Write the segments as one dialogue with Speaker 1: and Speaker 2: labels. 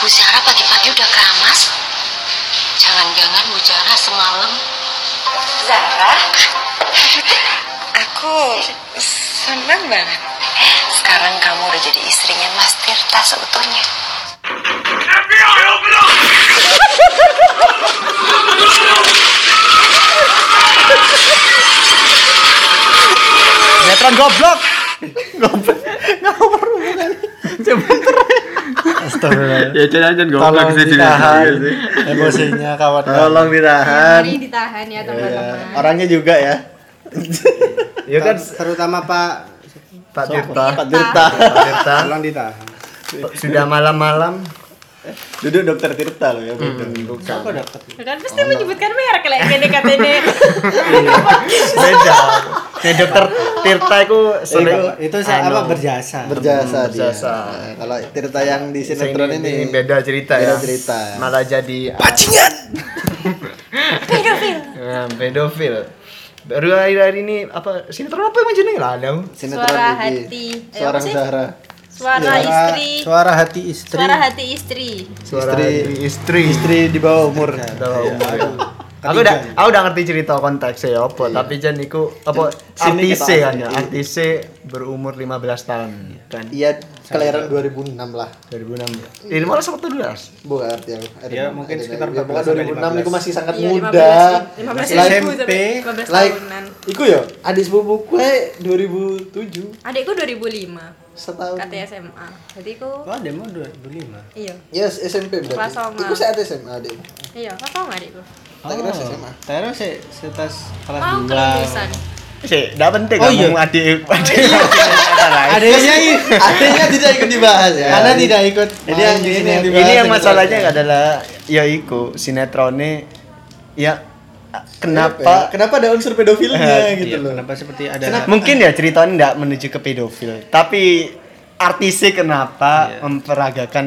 Speaker 1: pagi-pagi udah keramas? Jangan-jangan Mujara semalam.
Speaker 2: Zara,
Speaker 3: Aku senang banget.
Speaker 2: Eh, sekarang kamu udah jadi istrinya Mas Tirta seutuhnya.
Speaker 4: Netron goblok.
Speaker 5: Astagfirullah.
Speaker 6: ya jalan-jalan goblok
Speaker 5: Tolong
Speaker 6: sih sini
Speaker 5: ditahan
Speaker 6: Iya sih.
Speaker 5: emosinya kawan.
Speaker 4: Tolong ditahan.
Speaker 7: Mari ditahan ya
Speaker 4: Iya.
Speaker 7: teman-teman.
Speaker 4: Orangnya juga ya.
Speaker 5: Ya kan
Speaker 8: iya. terutama Pak
Speaker 5: Pak Tirta.
Speaker 4: Pak Tirta.
Speaker 5: Pak Tirta
Speaker 8: tolong ditahan.
Speaker 5: sudah malam-malam
Speaker 4: Duduk dokter Tirta loh ya.
Speaker 8: Hmm.
Speaker 4: betul.
Speaker 7: Kan pasti menyebutkan merek lah GDKTD.
Speaker 5: beda. Nih dokter Tirta itu
Speaker 8: Itu,
Speaker 5: sering
Speaker 8: itu saya apa
Speaker 5: anu,
Speaker 8: berjasa.
Speaker 4: Berjasa dia.
Speaker 5: berjasa.
Speaker 4: Kalau Tirta yang di
Speaker 5: sering
Speaker 4: sinetron
Speaker 5: ini
Speaker 4: ini
Speaker 5: beda cerita ya.
Speaker 4: Beda cerita.
Speaker 5: Malah jadi ah.
Speaker 4: Bajingan.
Speaker 5: eh, pedofil. Baru akhir-akhir ini apa sinetron apa yang jenenge lah Adam?
Speaker 4: Sinetron
Speaker 7: Suara
Speaker 4: ini.
Speaker 7: hati. Eh, apa
Speaker 4: Seorang
Speaker 7: sih?
Speaker 4: Zahra. Iya.
Speaker 7: Suara
Speaker 8: Suara,
Speaker 7: istri.
Speaker 8: suara hati istri.
Speaker 7: Suara hati istri.
Speaker 5: Suara
Speaker 4: Istri.
Speaker 5: di istri.
Speaker 4: Istri di bawah umur.
Speaker 8: Iya,
Speaker 4: Iya.
Speaker 5: Tahu, aduh. Aku udah aku udah ngerti cerita konteksnya ya apa, tapi Jan iku apa
Speaker 4: Sini
Speaker 5: artis
Speaker 4: kita-
Speaker 5: kan ya, artis berumur 15 tahun kan.
Speaker 4: Iya, kelahiran 2006 lah.
Speaker 5: 2006. Ini malah sempat 12.
Speaker 4: Bu arti yang ada-
Speaker 8: Ya, mungkin
Speaker 4: ada-
Speaker 8: sekitar
Speaker 4: ya, pokoknya
Speaker 8: 14 sampai
Speaker 4: 2006 itu masih sangat
Speaker 7: Iya,
Speaker 4: muda.
Speaker 7: 15
Speaker 4: Like,
Speaker 7: ribu
Speaker 8: SMP,
Speaker 7: sampai 15
Speaker 4: like,
Speaker 7: tahunan.
Speaker 4: iku ya, adik sepupu gue 2007
Speaker 7: Adikku 2005
Speaker 4: setahun.
Speaker 7: kata SMA. Jadi ku
Speaker 8: Oh, demo 2005.
Speaker 7: iya,
Speaker 4: Yes, SMP
Speaker 7: Kelas
Speaker 4: berarti.
Speaker 7: sama.
Speaker 4: Iku saya SMA, Dek.
Speaker 7: iya, apa sama adikku?
Speaker 4: Tak kira saya SMA.
Speaker 8: Saya Oh, kira saya setas kelas
Speaker 7: Mau kelulusan.
Speaker 5: Sih, enggak penting
Speaker 8: Oh,
Speaker 5: oh,
Speaker 8: iya.
Speaker 5: ngomong adik. adik-
Speaker 4: Iya.
Speaker 8: Adanya ini
Speaker 4: Artinya tidak ikut dibahas ya.
Speaker 8: karena tidak ikut.
Speaker 4: Ini yang- ini yang
Speaker 5: ini yang masalahnya adalah ya iku sinetronnya ya kenapa
Speaker 4: kenapa? Kenapa ada unsur pedofilnya
Speaker 5: Eh,
Speaker 4: gitu loh.
Speaker 8: Iya, Kenapa seperti ya? ada
Speaker 5: mungkin ya ceritanya enggak menuju ke pedofil, tapi artisnya
Speaker 8: Iya.
Speaker 5: kenapa memperagakan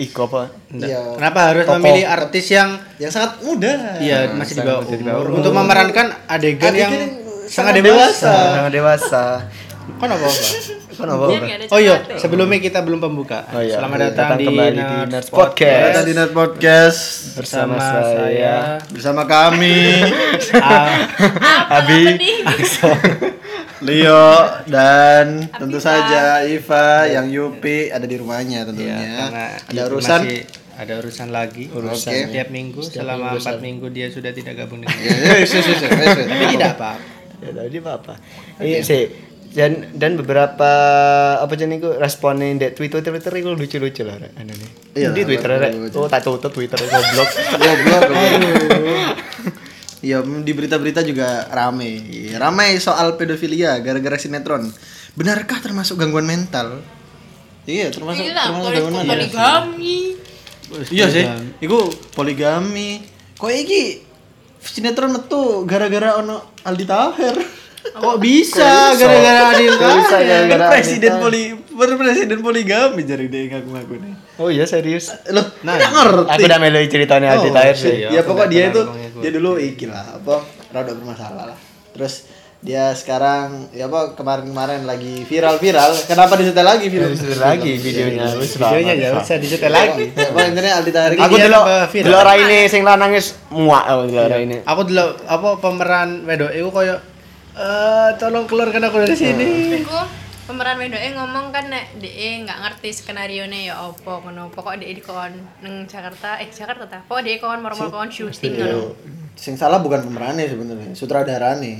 Speaker 5: iku apa?
Speaker 4: Iya.
Speaker 8: Kenapa harus
Speaker 5: Tokoh.
Speaker 8: memilih artis yang
Speaker 4: Yang sangat muda.
Speaker 8: Iya, masih di bawah
Speaker 5: masih di bawah
Speaker 8: umur. Untuk memerankan adegan,
Speaker 4: Adegan
Speaker 8: yang
Speaker 4: yang sangat
Speaker 8: sangat dewasa.
Speaker 5: Orang dewasa.
Speaker 8: Kan apa apa?
Speaker 5: Kan apa?
Speaker 7: Biar nggak ada
Speaker 8: Oh iya,
Speaker 7: cepat, ya.
Speaker 8: sebelumnya kita belum pembukaan.
Speaker 5: Oh iya,
Speaker 8: Selamat
Speaker 5: iya,
Speaker 8: datang, di,
Speaker 5: kembali
Speaker 8: Nerds
Speaker 5: Nerds
Speaker 8: Podcast.
Speaker 5: Podcast.
Speaker 4: Tadi Net Podcast
Speaker 5: bersama
Speaker 8: Sama
Speaker 5: saya
Speaker 8: saya.
Speaker 4: bersama kami
Speaker 5: Abi
Speaker 4: Leo dan tentu saja Iva yang Yupi ada di rumahnya tentunya.
Speaker 8: Iya, karena
Speaker 4: ada
Speaker 8: dia
Speaker 4: urusan
Speaker 8: masih ada urusan lagi.
Speaker 4: Urusan.
Speaker 8: Oke. Tiap minggu selama empat minggu dia sudah tidak gabung dengan
Speaker 4: Ya, ya,
Speaker 8: kita.
Speaker 4: ya, ya, ya, ya, ya.
Speaker 8: Tapi tidak apa.
Speaker 5: ya tadi apa apa iya sih dan dan beberapa apa jenis itu responnya di Twitter Twitter itu lucu lucu lah Rek. anu nih
Speaker 4: Iya,
Speaker 5: di Twitter
Speaker 4: lucu,
Speaker 5: Rek.
Speaker 4: lucu.
Speaker 5: oh tak tutup Twitter goblok
Speaker 4: Goblok, goblok. Iya, mm, di berita-berita juga rame. Ramai soal pedofilia gara-gara sinetron. Benarkah termasuk gangguan mental? Iya, termasuk termasuk gangguan mental. Iya sih. Iku poligami. Kok iki sinetron metu gara-gara ono Aldi Taher.
Speaker 8: Kok bisa gara-gara adil kan?
Speaker 5: bisa gara-gara
Speaker 4: presiden
Speaker 5: Anita.
Speaker 4: poli per- presiden poligami jari dia ngaku ngaku nih.
Speaker 5: oh iya serius
Speaker 4: Loh, nah, ngerti.
Speaker 5: aku udah meloi ceritanya Aldi Tahir Iya, sih
Speaker 4: Ya pokok dia itu dia dulu iki lah apa rada bermasalah lah. Terus dia sekarang ya apa kemarin-kemarin lagi viral-viral. Kenapa disetel lagi film?
Speaker 5: Terus Iya, lagi videonya wis
Speaker 8: Videonya
Speaker 5: lama.
Speaker 8: ya bisa dicetel lagi.
Speaker 4: Apa intinya Aldi Taher ini
Speaker 5: aku
Speaker 8: Ini
Speaker 5: delok
Speaker 8: apa, viral?
Speaker 5: delok raine sing lanangis muak aku delok raine
Speaker 8: Aku dulu apa pemeran wedok itu koyo eh tolong keluarkan aku dari sini.
Speaker 7: Aku pemeran wedoke ngomong kan nek DE nggak ngerti skenario ne ya opo ngono. Pokok DE dikon neng Jakarta, eh Jakarta ta. Pokok DE kon moro-moro kon
Speaker 8: Iya.
Speaker 7: syuting ngono.
Speaker 4: Iya. sing salah bukan pemerannya sebenarnya, sutradaranya.
Speaker 8: Iya,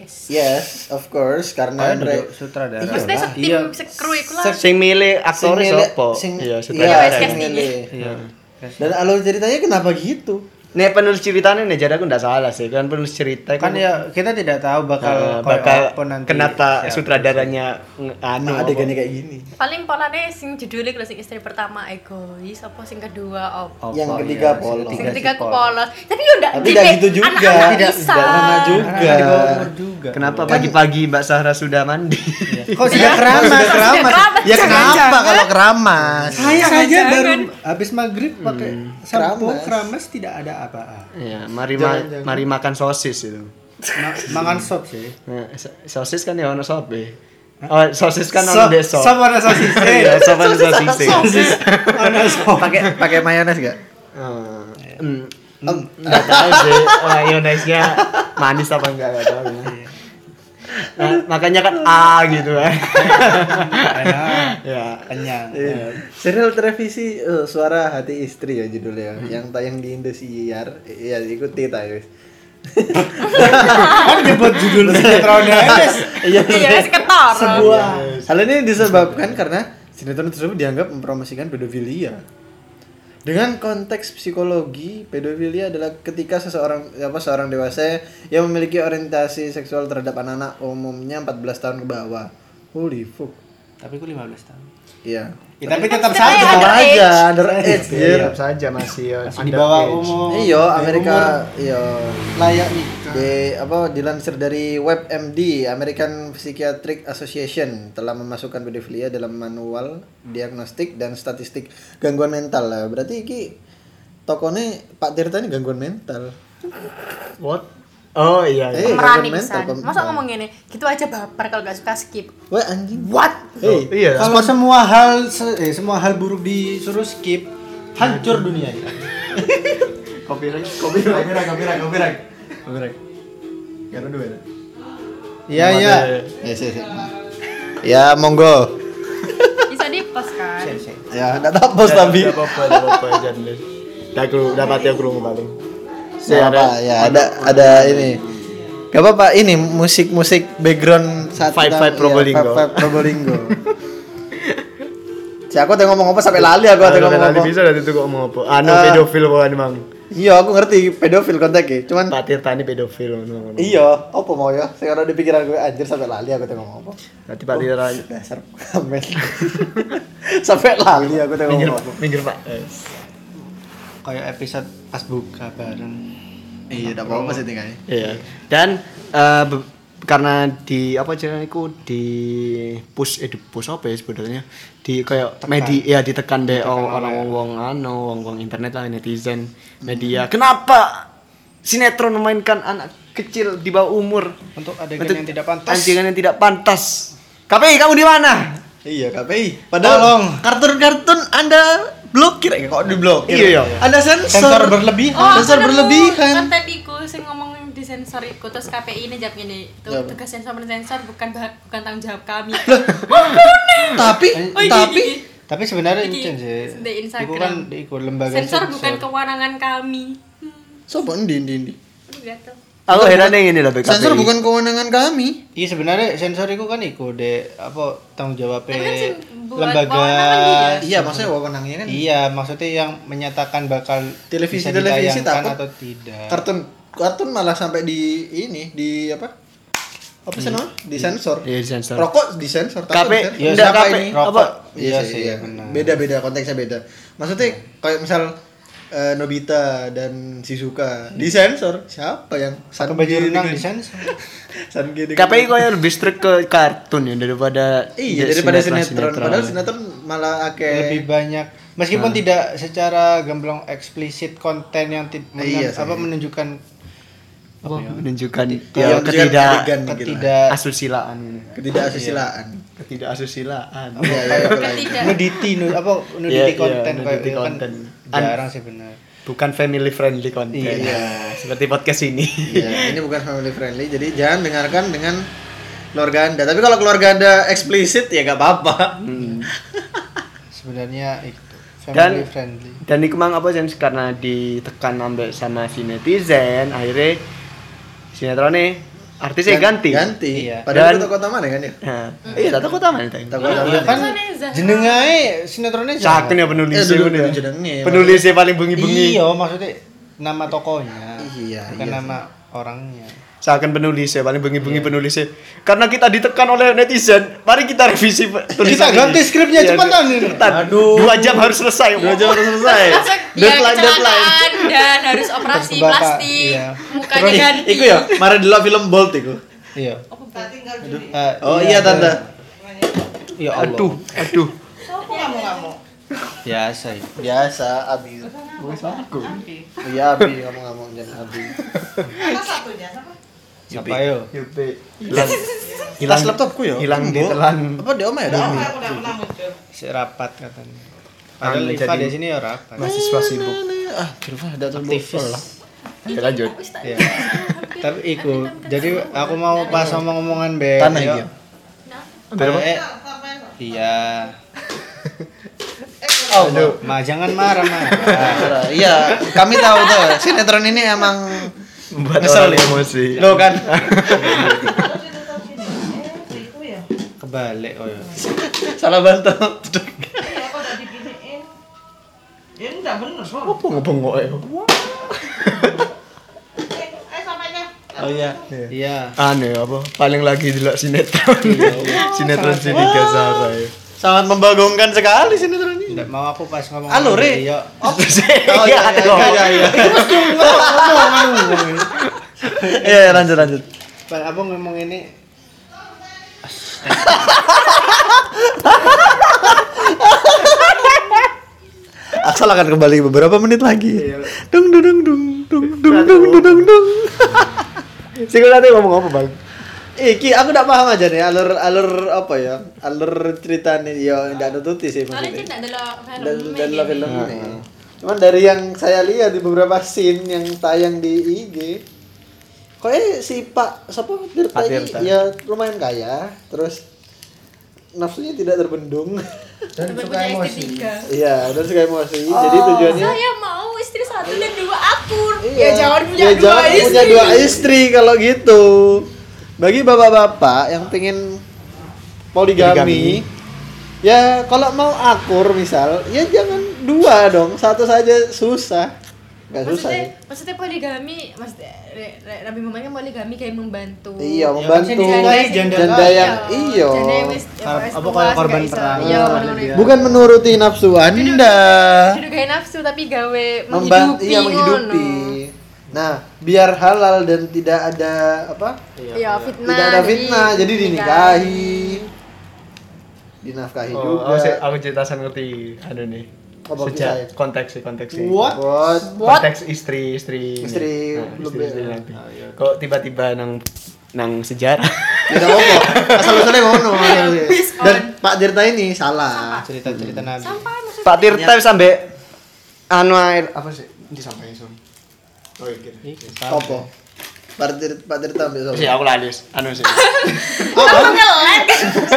Speaker 7: Yes.
Speaker 4: Yes, of course karena
Speaker 8: Ayo duduk, sutradara.
Speaker 4: Iya,
Speaker 7: Maksudnya
Speaker 4: lah.
Speaker 7: setim sekru iku lah.
Speaker 5: sing milih
Speaker 4: Sing
Speaker 5: aktor
Speaker 4: milih-
Speaker 5: sapa
Speaker 4: sing-
Speaker 5: iya
Speaker 4: iya,
Speaker 5: sutradara
Speaker 4: sing
Speaker 7: Casting.
Speaker 4: milih. Dan alur ceritanya kenapa gitu?
Speaker 5: Nih penulis ceritanya nih jadi aku ndak salah sih kan penulis cerita
Speaker 8: Kan ya kita tidak tahu
Speaker 5: Nah,
Speaker 8: bakal koyo
Speaker 5: bakal
Speaker 8: apa nanti. Iya.
Speaker 5: kenapa
Speaker 8: Siapa.
Speaker 5: sutradaranya nge- anu
Speaker 4: Nah,
Speaker 5: apa?
Speaker 4: adegannya kayak gini.
Speaker 7: Paling polane sing judulnya kalau sing istri pertama egois, apa sing kedua opo.
Speaker 4: Yang ketiga
Speaker 5: Iya,
Speaker 4: polos.
Speaker 7: Sing ketiga aku polos. Tapi yo ndak
Speaker 4: Tapi tidak gitu juga.
Speaker 7: Anak
Speaker 4: Tidak-
Speaker 7: bisa.
Speaker 4: tidak pernah juga.
Speaker 8: Karena di bawah umur juga.
Speaker 5: Kenapa pagi-pagi Mbak Sahra sudah mandi?
Speaker 8: Kok sudah keramas?
Speaker 7: Sudah keramas.
Speaker 4: Ya kenapa kalau keramas?
Speaker 8: Saya saja baru habis maghrib pakai sampo
Speaker 4: Keramas.
Speaker 8: Hmm, keramas tidak ada apa-apa.
Speaker 5: Iya, mari ma- mari makan sosis itu.
Speaker 8: Ma- makan sop sih.
Speaker 5: Nah, so- sosis kan ya ono sobe. Oh, sosis kan
Speaker 8: So-
Speaker 5: orang desa.
Speaker 8: sop ada sosis. Eh,
Speaker 5: Iya, sop ada sosis.
Speaker 8: Sosis. Ada sop.
Speaker 4: Pakai pakai mayones gak?
Speaker 5: Eh, mm, Enggak tahu sih mayonesnya manis apa enggak enggak tahu. Nah, makanya kan A gitu kan.
Speaker 8: Iya.
Speaker 5: ya.
Speaker 8: Kenyang.
Speaker 4: Iya. Serial televisi eh, Suara Hati Istri ya judulnya. Yang tayang di Indosiar. Iya, ikuti tayo.
Speaker 8: Kan nyebut judul sinetron Nes.
Speaker 5: Iya.
Speaker 7: Iya, wes ketor.
Speaker 8: Sebuah
Speaker 4: Hal ini disebabkan karena sinetron tersebut dianggap mempromosikan pedofilia. Dengan konteks psikologi, pedofilia adalah ketika seseorang apa seorang dewasa yang memiliki orientasi seksual terhadap anak-anak umumnya 14 tahun ke bawah. Holy fuck.
Speaker 8: Tapi gue 15 tahun.
Speaker 4: Iya.
Speaker 8: Ya, tapi
Speaker 7: Tetap
Speaker 8: tetap saja.
Speaker 4: Sama
Speaker 7: underage.
Speaker 4: aja underage.
Speaker 5: Iya,
Speaker 4: anjir.
Speaker 5: saja masih ya,
Speaker 8: Masih di bawah
Speaker 5: underage.
Speaker 8: umur.
Speaker 4: Iya, Amerika
Speaker 8: Umur
Speaker 4: iya.
Speaker 8: layak nikah.
Speaker 4: Di apa dilansir dari WebMD, American Psychiatric Association telah memasukkan pedofilia dalam manual diagnostik dan statistik gangguan mental lah. Berarti iki tokonya Pak Tirta ini gangguan mental.
Speaker 5: What? Oh iya. iya.
Speaker 4: Eh,
Speaker 7: Merani
Speaker 4: gangguan mental.
Speaker 7: pisan. Masa ngomong gini, gitu aja baper kalau gak suka skip.
Speaker 4: Wah anjing. What?
Speaker 5: Oh, iya.
Speaker 8: Kalau semua hal se- eh, semua hal buruk disuruh skip, hancur dunia ini.
Speaker 5: Copyright.
Speaker 8: Copyright, copyright, copyright. Copyright.
Speaker 4: Karena dua.
Speaker 8: Iya, iya.
Speaker 4: Yes, yes, yes. Ya, monggo.
Speaker 7: Bisa di post kan?
Speaker 4: Ya, enggak tak post tapi.
Speaker 5: Enggak apa-apa, enggak apa-apa jangan. Dah kru, dapat ya kru paling.
Speaker 4: Ya, apa, ya ada ada ini. Gak apa-apa ini musik-musik background saat
Speaker 5: Vibe-
Speaker 4: kita-
Speaker 5: vibe
Speaker 4: iya,
Speaker 5: Probolinggo.
Speaker 4: vibe- vibe Probolinggo. Si aku tengok ngomong apa sampai lali aku tengok ngomong apa.
Speaker 5: bisa dari itu kok mau apa? Anu
Speaker 4: Eh.
Speaker 5: pedofil bukan emang.
Speaker 4: Iya, aku ngerti pedofil kontaknya. Cuman
Speaker 5: Pak Tirta ini pedofil. emang.
Speaker 4: iya, apa mau ya? Sekarang di pikiran gue anjir sampai lali aku tengok ngomong apa. Oh,
Speaker 5: Nanti Pak Tirta
Speaker 4: Dasar kamen. sampai lali aku tengok
Speaker 5: minggir
Speaker 4: ngomong
Speaker 5: Pak,
Speaker 4: apa.
Speaker 5: minggir Pak.
Speaker 8: Kayak episode pas buka bareng.
Speaker 4: Iya, enggak apa-apa sih tinggalnya.
Speaker 5: Iya. Dan eh, be- karena di apa ceritanya itu di push eh di push apa ya sebetulnya di kayak media ya ditekan deh oh,
Speaker 4: ya?
Speaker 5: orang wong anu wong wong internet lah
Speaker 4: Hmm.
Speaker 5: netizen media kenapa sinetron memainkan anak kecil di bawah umur
Speaker 8: Untuk adegan
Speaker 5: Untuk
Speaker 8: yang tidak pantas.
Speaker 5: adegan yang tidak pantas KPI kamu di mana
Speaker 4: Iya KPI. Padahal
Speaker 8: Tolong.
Speaker 4: kartun-kartun Anda blokir ya kok diblokir.
Speaker 5: Iya, iya.
Speaker 4: Ada sensor. Oh,
Speaker 8: Sensor berlebihan.
Speaker 4: sensor
Speaker 7: Oh, aku nemu.
Speaker 4: berlebihan.
Speaker 7: Kan tadi ku sing ngomong di sensor iku terus KPI ini jawab gini. Tuh
Speaker 4: Jawab.
Speaker 7: tugas sensor mensensor bukan bah- bukan tanggung jawab kami.
Speaker 4: Tapi
Speaker 7: Oh, iki,
Speaker 4: tapi
Speaker 7: iki.
Speaker 8: Tapi sebenarnya
Speaker 7: Iki,
Speaker 8: itu sih.
Speaker 7: di Instagram.
Speaker 8: Iku kan di iku lembaga
Speaker 7: sensor bukan kewenangan kami.
Speaker 4: sopo endi endi endi.
Speaker 7: Aduh, gatel.
Speaker 5: aku heran yang ini lah BKPI
Speaker 4: Sensor bukan kewenangan kami.
Speaker 8: Iya sebenarnya sensor itu kan iku de apa tanggung jawabnya
Speaker 7: Tapi kan sing buat kan
Speaker 8: lembaga.
Speaker 7: kewenangan dia.
Speaker 4: Iya, maksudnya wewenangnya kan
Speaker 8: Iya, maksudnya yang menyatakan bakal
Speaker 4: Televisi-
Speaker 8: bisa
Speaker 4: televisi
Speaker 8: ditayangkan
Speaker 4: takut.
Speaker 8: atau tidak.
Speaker 4: kartun kartun malah sampai di ini di apa? Apa sih namanya? Di sensor.
Speaker 5: Iya, disensor.
Speaker 4: Rokok di sensor.
Speaker 5: KPI
Speaker 8: Iya,
Speaker 5: enggak
Speaker 8: siapa
Speaker 5: KPI
Speaker 8: ini?
Speaker 5: apa
Speaker 8: Rokok.
Speaker 4: Iya sih, iya. Beda-beda konteksnya beda. Maksudnya
Speaker 8: Iya.
Speaker 4: kayak misal eh, Nobita dan Shizuka disensor. Siapa yang
Speaker 8: Pakai
Speaker 4: Sanji
Speaker 8: baju renang
Speaker 4: dengan-
Speaker 8: di sensor.
Speaker 4: Sanji dengan-
Speaker 5: KPI kayak lebih strict ke kartun ya daripada
Speaker 4: Iya daripada sinetron. Padahal sinetron malah akeh
Speaker 8: Lebih banyak meskipun
Speaker 5: Nah.
Speaker 8: tidak secara gamblang eksplisit konten yang ti-
Speaker 4: Iya
Speaker 8: menen-
Speaker 4: sih.
Speaker 8: apa menunjukkan
Speaker 5: Wah, menunjukkan
Speaker 4: Iya,
Speaker 5: ya,
Speaker 4: menunjukkan
Speaker 5: ketidak
Speaker 4: adegan. gitu
Speaker 8: ketidak
Speaker 5: asusilaan ini.
Speaker 4: ketidaksusilaan.
Speaker 5: ketidak asusilaan
Speaker 4: Iya iya. betul.
Speaker 7: Ketidak.
Speaker 8: nudity nu- apa
Speaker 5: Iya,
Speaker 8: nudity
Speaker 5: iya,
Speaker 8: konten kayak
Speaker 5: nudity
Speaker 8: gitu kan
Speaker 5: konten.
Speaker 8: jarang sih benar.
Speaker 5: bukan family friendly content
Speaker 4: Iya.
Speaker 5: seperti podcast ini
Speaker 4: Iya, ini bukan family friendly. Jadi jangan dengarkan dengan keluarga Anda. Tapi kalau keluarga Anda eksplisit ya gak apa-apa.
Speaker 8: Sebenarnya itu
Speaker 5: Dan- Iya.
Speaker 8: family friendly.
Speaker 5: dan ini kemang apa sih karena ditekan sampai sama si netizen akhirnya sinetron nih artisnya ganti
Speaker 4: Ganti.
Speaker 8: Iya.
Speaker 4: Padahal
Speaker 5: Dan-
Speaker 4: itu kota mana kan ya?
Speaker 5: nah, iya tak tahu taman itu
Speaker 4: Toko utama.
Speaker 8: Iya kan
Speaker 7: Sana Zahra.
Speaker 8: jenengae sinetronnya Zahra.
Speaker 5: Cakun ya penulisnya
Speaker 4: Eh, dulu-
Speaker 5: ini.
Speaker 4: dulu jenenge.
Speaker 5: penulisnya paling bengi-bengi
Speaker 8: Iya, maksudnya nama tokonya.
Speaker 4: Iya,
Speaker 8: Bukan
Speaker 4: iya
Speaker 8: nama orangnya.
Speaker 5: Seakan penulisnya paling bengi-bengi penulisnya karena kita ditekan oleh netizen mari kita revisi pe- tulisan ini.
Speaker 8: ganti skripnya,
Speaker 5: Iya,
Speaker 8: cepetan ini.
Speaker 5: cepetan.
Speaker 8: Aduh.
Speaker 5: dua jam harus selesai dua jam harus selesai Ya
Speaker 7: Masuk dia Iya, kecelakaan dan harus operasi
Speaker 8: Bapak,
Speaker 7: plastik.
Speaker 8: iya.
Speaker 7: Mukanya ganti.
Speaker 4: Iku ya, mari dulu film Bolt iku.
Speaker 8: Iya. Eh,
Speaker 4: Oh iya tante.
Speaker 8: Ya Allah.
Speaker 5: aduh aduh
Speaker 8: Biasa itu.
Speaker 4: Biasa Abi. Iya Abi
Speaker 8: ya?
Speaker 4: ngomong-ngomong jangan Abi.
Speaker 8: Apa yo?
Speaker 5: Lan- Hilang-
Speaker 4: tas laptopku ya
Speaker 5: hilang
Speaker 4: Mbok.
Speaker 5: ditelan.
Speaker 4: apa di oma ya di oma
Speaker 8: Si rapat katanya. Padahal
Speaker 5: Anu,
Speaker 8: Liva
Speaker 5: jadi-
Speaker 8: di sini ya rapat.
Speaker 5: mahasiswa sibuk
Speaker 4: ah Dilva ada
Speaker 8: Aktivis.
Speaker 5: ya lanjut
Speaker 8: Iya. Tapi iku. Jadi aku mau pas omong-omongan be.
Speaker 4: Tanah ya?
Speaker 8: yo.
Speaker 4: iki.
Speaker 5: Dari apa?
Speaker 8: Eh, Iya.
Speaker 4: oh no.
Speaker 8: Ma jangan marah, Ma.
Speaker 4: iya kami tahu tuh sinetron ini emang
Speaker 5: membuat
Speaker 4: Ngesel
Speaker 5: orang
Speaker 4: ya?
Speaker 5: emosi
Speaker 8: Lo kan. Kebalik oh ya.
Speaker 4: salah bantal
Speaker 5: apa ngebengok ya
Speaker 8: Oh iya. Iya.
Speaker 5: aneh apa paling lagi delok sinetron sinetron si Liga Zara ya
Speaker 4: sangat membagongkan sekali sinetron ini
Speaker 8: Nggak mau aku pas ngomong.
Speaker 4: Halo, Re.
Speaker 8: Iya.
Speaker 4: Anu, oh iya iya iya iya iya, lanjut lanjut
Speaker 8: Pas aku ngomong ini
Speaker 4: Axel akan kembali beberapa menit lagi dung dung dung dung dung dung dung dung dung dung
Speaker 5: sih gue nanti ngomong apa bang
Speaker 4: Iki aku ndak paham aja nih alur alur apa ya alur ceritanya ya ndak nututi sih
Speaker 7: Soalnya itu
Speaker 4: maksudnya
Speaker 7: nggak ada
Speaker 4: dan
Speaker 7: film
Speaker 4: dan lah film ini. Ah, Cuman dari yang saya lihat di beberapa scene yang tayang di IG, kayaknya eh, si Pak siapa Tirta
Speaker 5: Pak
Speaker 4: ini
Speaker 5: Tirta.
Speaker 4: ya lumayan kaya, terus nafsunya tidak terbendung.
Speaker 8: dan suka emosi.
Speaker 4: Iya, dan suka emosi. Jadi tujuannya
Speaker 7: Saya mau istri satu dan dua akur.
Speaker 4: Iya.
Speaker 7: Ya jangan punya
Speaker 4: Ya,
Speaker 7: dua
Speaker 4: jangan
Speaker 7: istri.
Speaker 4: punya dua istri kalau gitu. Bagi bapak-bapak yang pengen poligami, ya kalau mau akur misal, ya jangan dua dong, satu saja susah. Gak susah
Speaker 7: maksudnya,
Speaker 4: sih.
Speaker 7: maksudnya poligami, maksudnya Re- Re- Rabi Muhammad kan poligami kayak membantu.
Speaker 4: Iya,
Speaker 8: Ya,
Speaker 4: membantu
Speaker 8: maksudnya dicintai janda
Speaker 4: janda
Speaker 8: kaya.
Speaker 4: yang iya.
Speaker 7: Janda yang wis- yang
Speaker 8: Kar-
Speaker 7: wis
Speaker 8: apa
Speaker 7: puas,
Speaker 8: kalau
Speaker 7: gak
Speaker 8: korban
Speaker 7: iso.
Speaker 8: perang.
Speaker 7: Iya,
Speaker 8: Ah,
Speaker 7: bener-bener.
Speaker 8: iya.
Speaker 4: Bukan menuruti nafsu Anda.
Speaker 7: Hidup kayak nafsu tapi gawe
Speaker 4: Memba-
Speaker 7: menghidupi.
Speaker 4: iya menghidupi.
Speaker 7: ngono.
Speaker 4: Nah, biar halal dan tidak ada apa?
Speaker 7: Iya, fitnah.
Speaker 4: tidak ada fitnah, jadi
Speaker 7: dinikahi.
Speaker 4: dinikahi. Dinafkahi
Speaker 5: Oh,
Speaker 4: juga.
Speaker 5: aku, sih- aku cerita saya ngerti anu nih
Speaker 4: Apa
Speaker 5: sejak
Speaker 4: bisa?
Speaker 5: konteks sih konteks sih
Speaker 8: What?
Speaker 4: Buat
Speaker 5: konteks istri istri
Speaker 4: Istri
Speaker 5: nah, istri,
Speaker 4: lebih-
Speaker 5: istri nanti kok tiba-tiba nang nang sejarah
Speaker 4: tidak apa. Asal usulnya ngono. Dan Pak Dirta ini salah.
Speaker 8: Cerita-cerita Nabi.
Speaker 7: Sampah maksudnya.
Speaker 5: Pak Tirta sampai anu air apa sih disampaikan sama oh iya gitu.
Speaker 8: Ih, sampah.
Speaker 4: Apa? Pak Dirta, Pak Dirta ambil sopo?
Speaker 5: sih aku lalis anu sih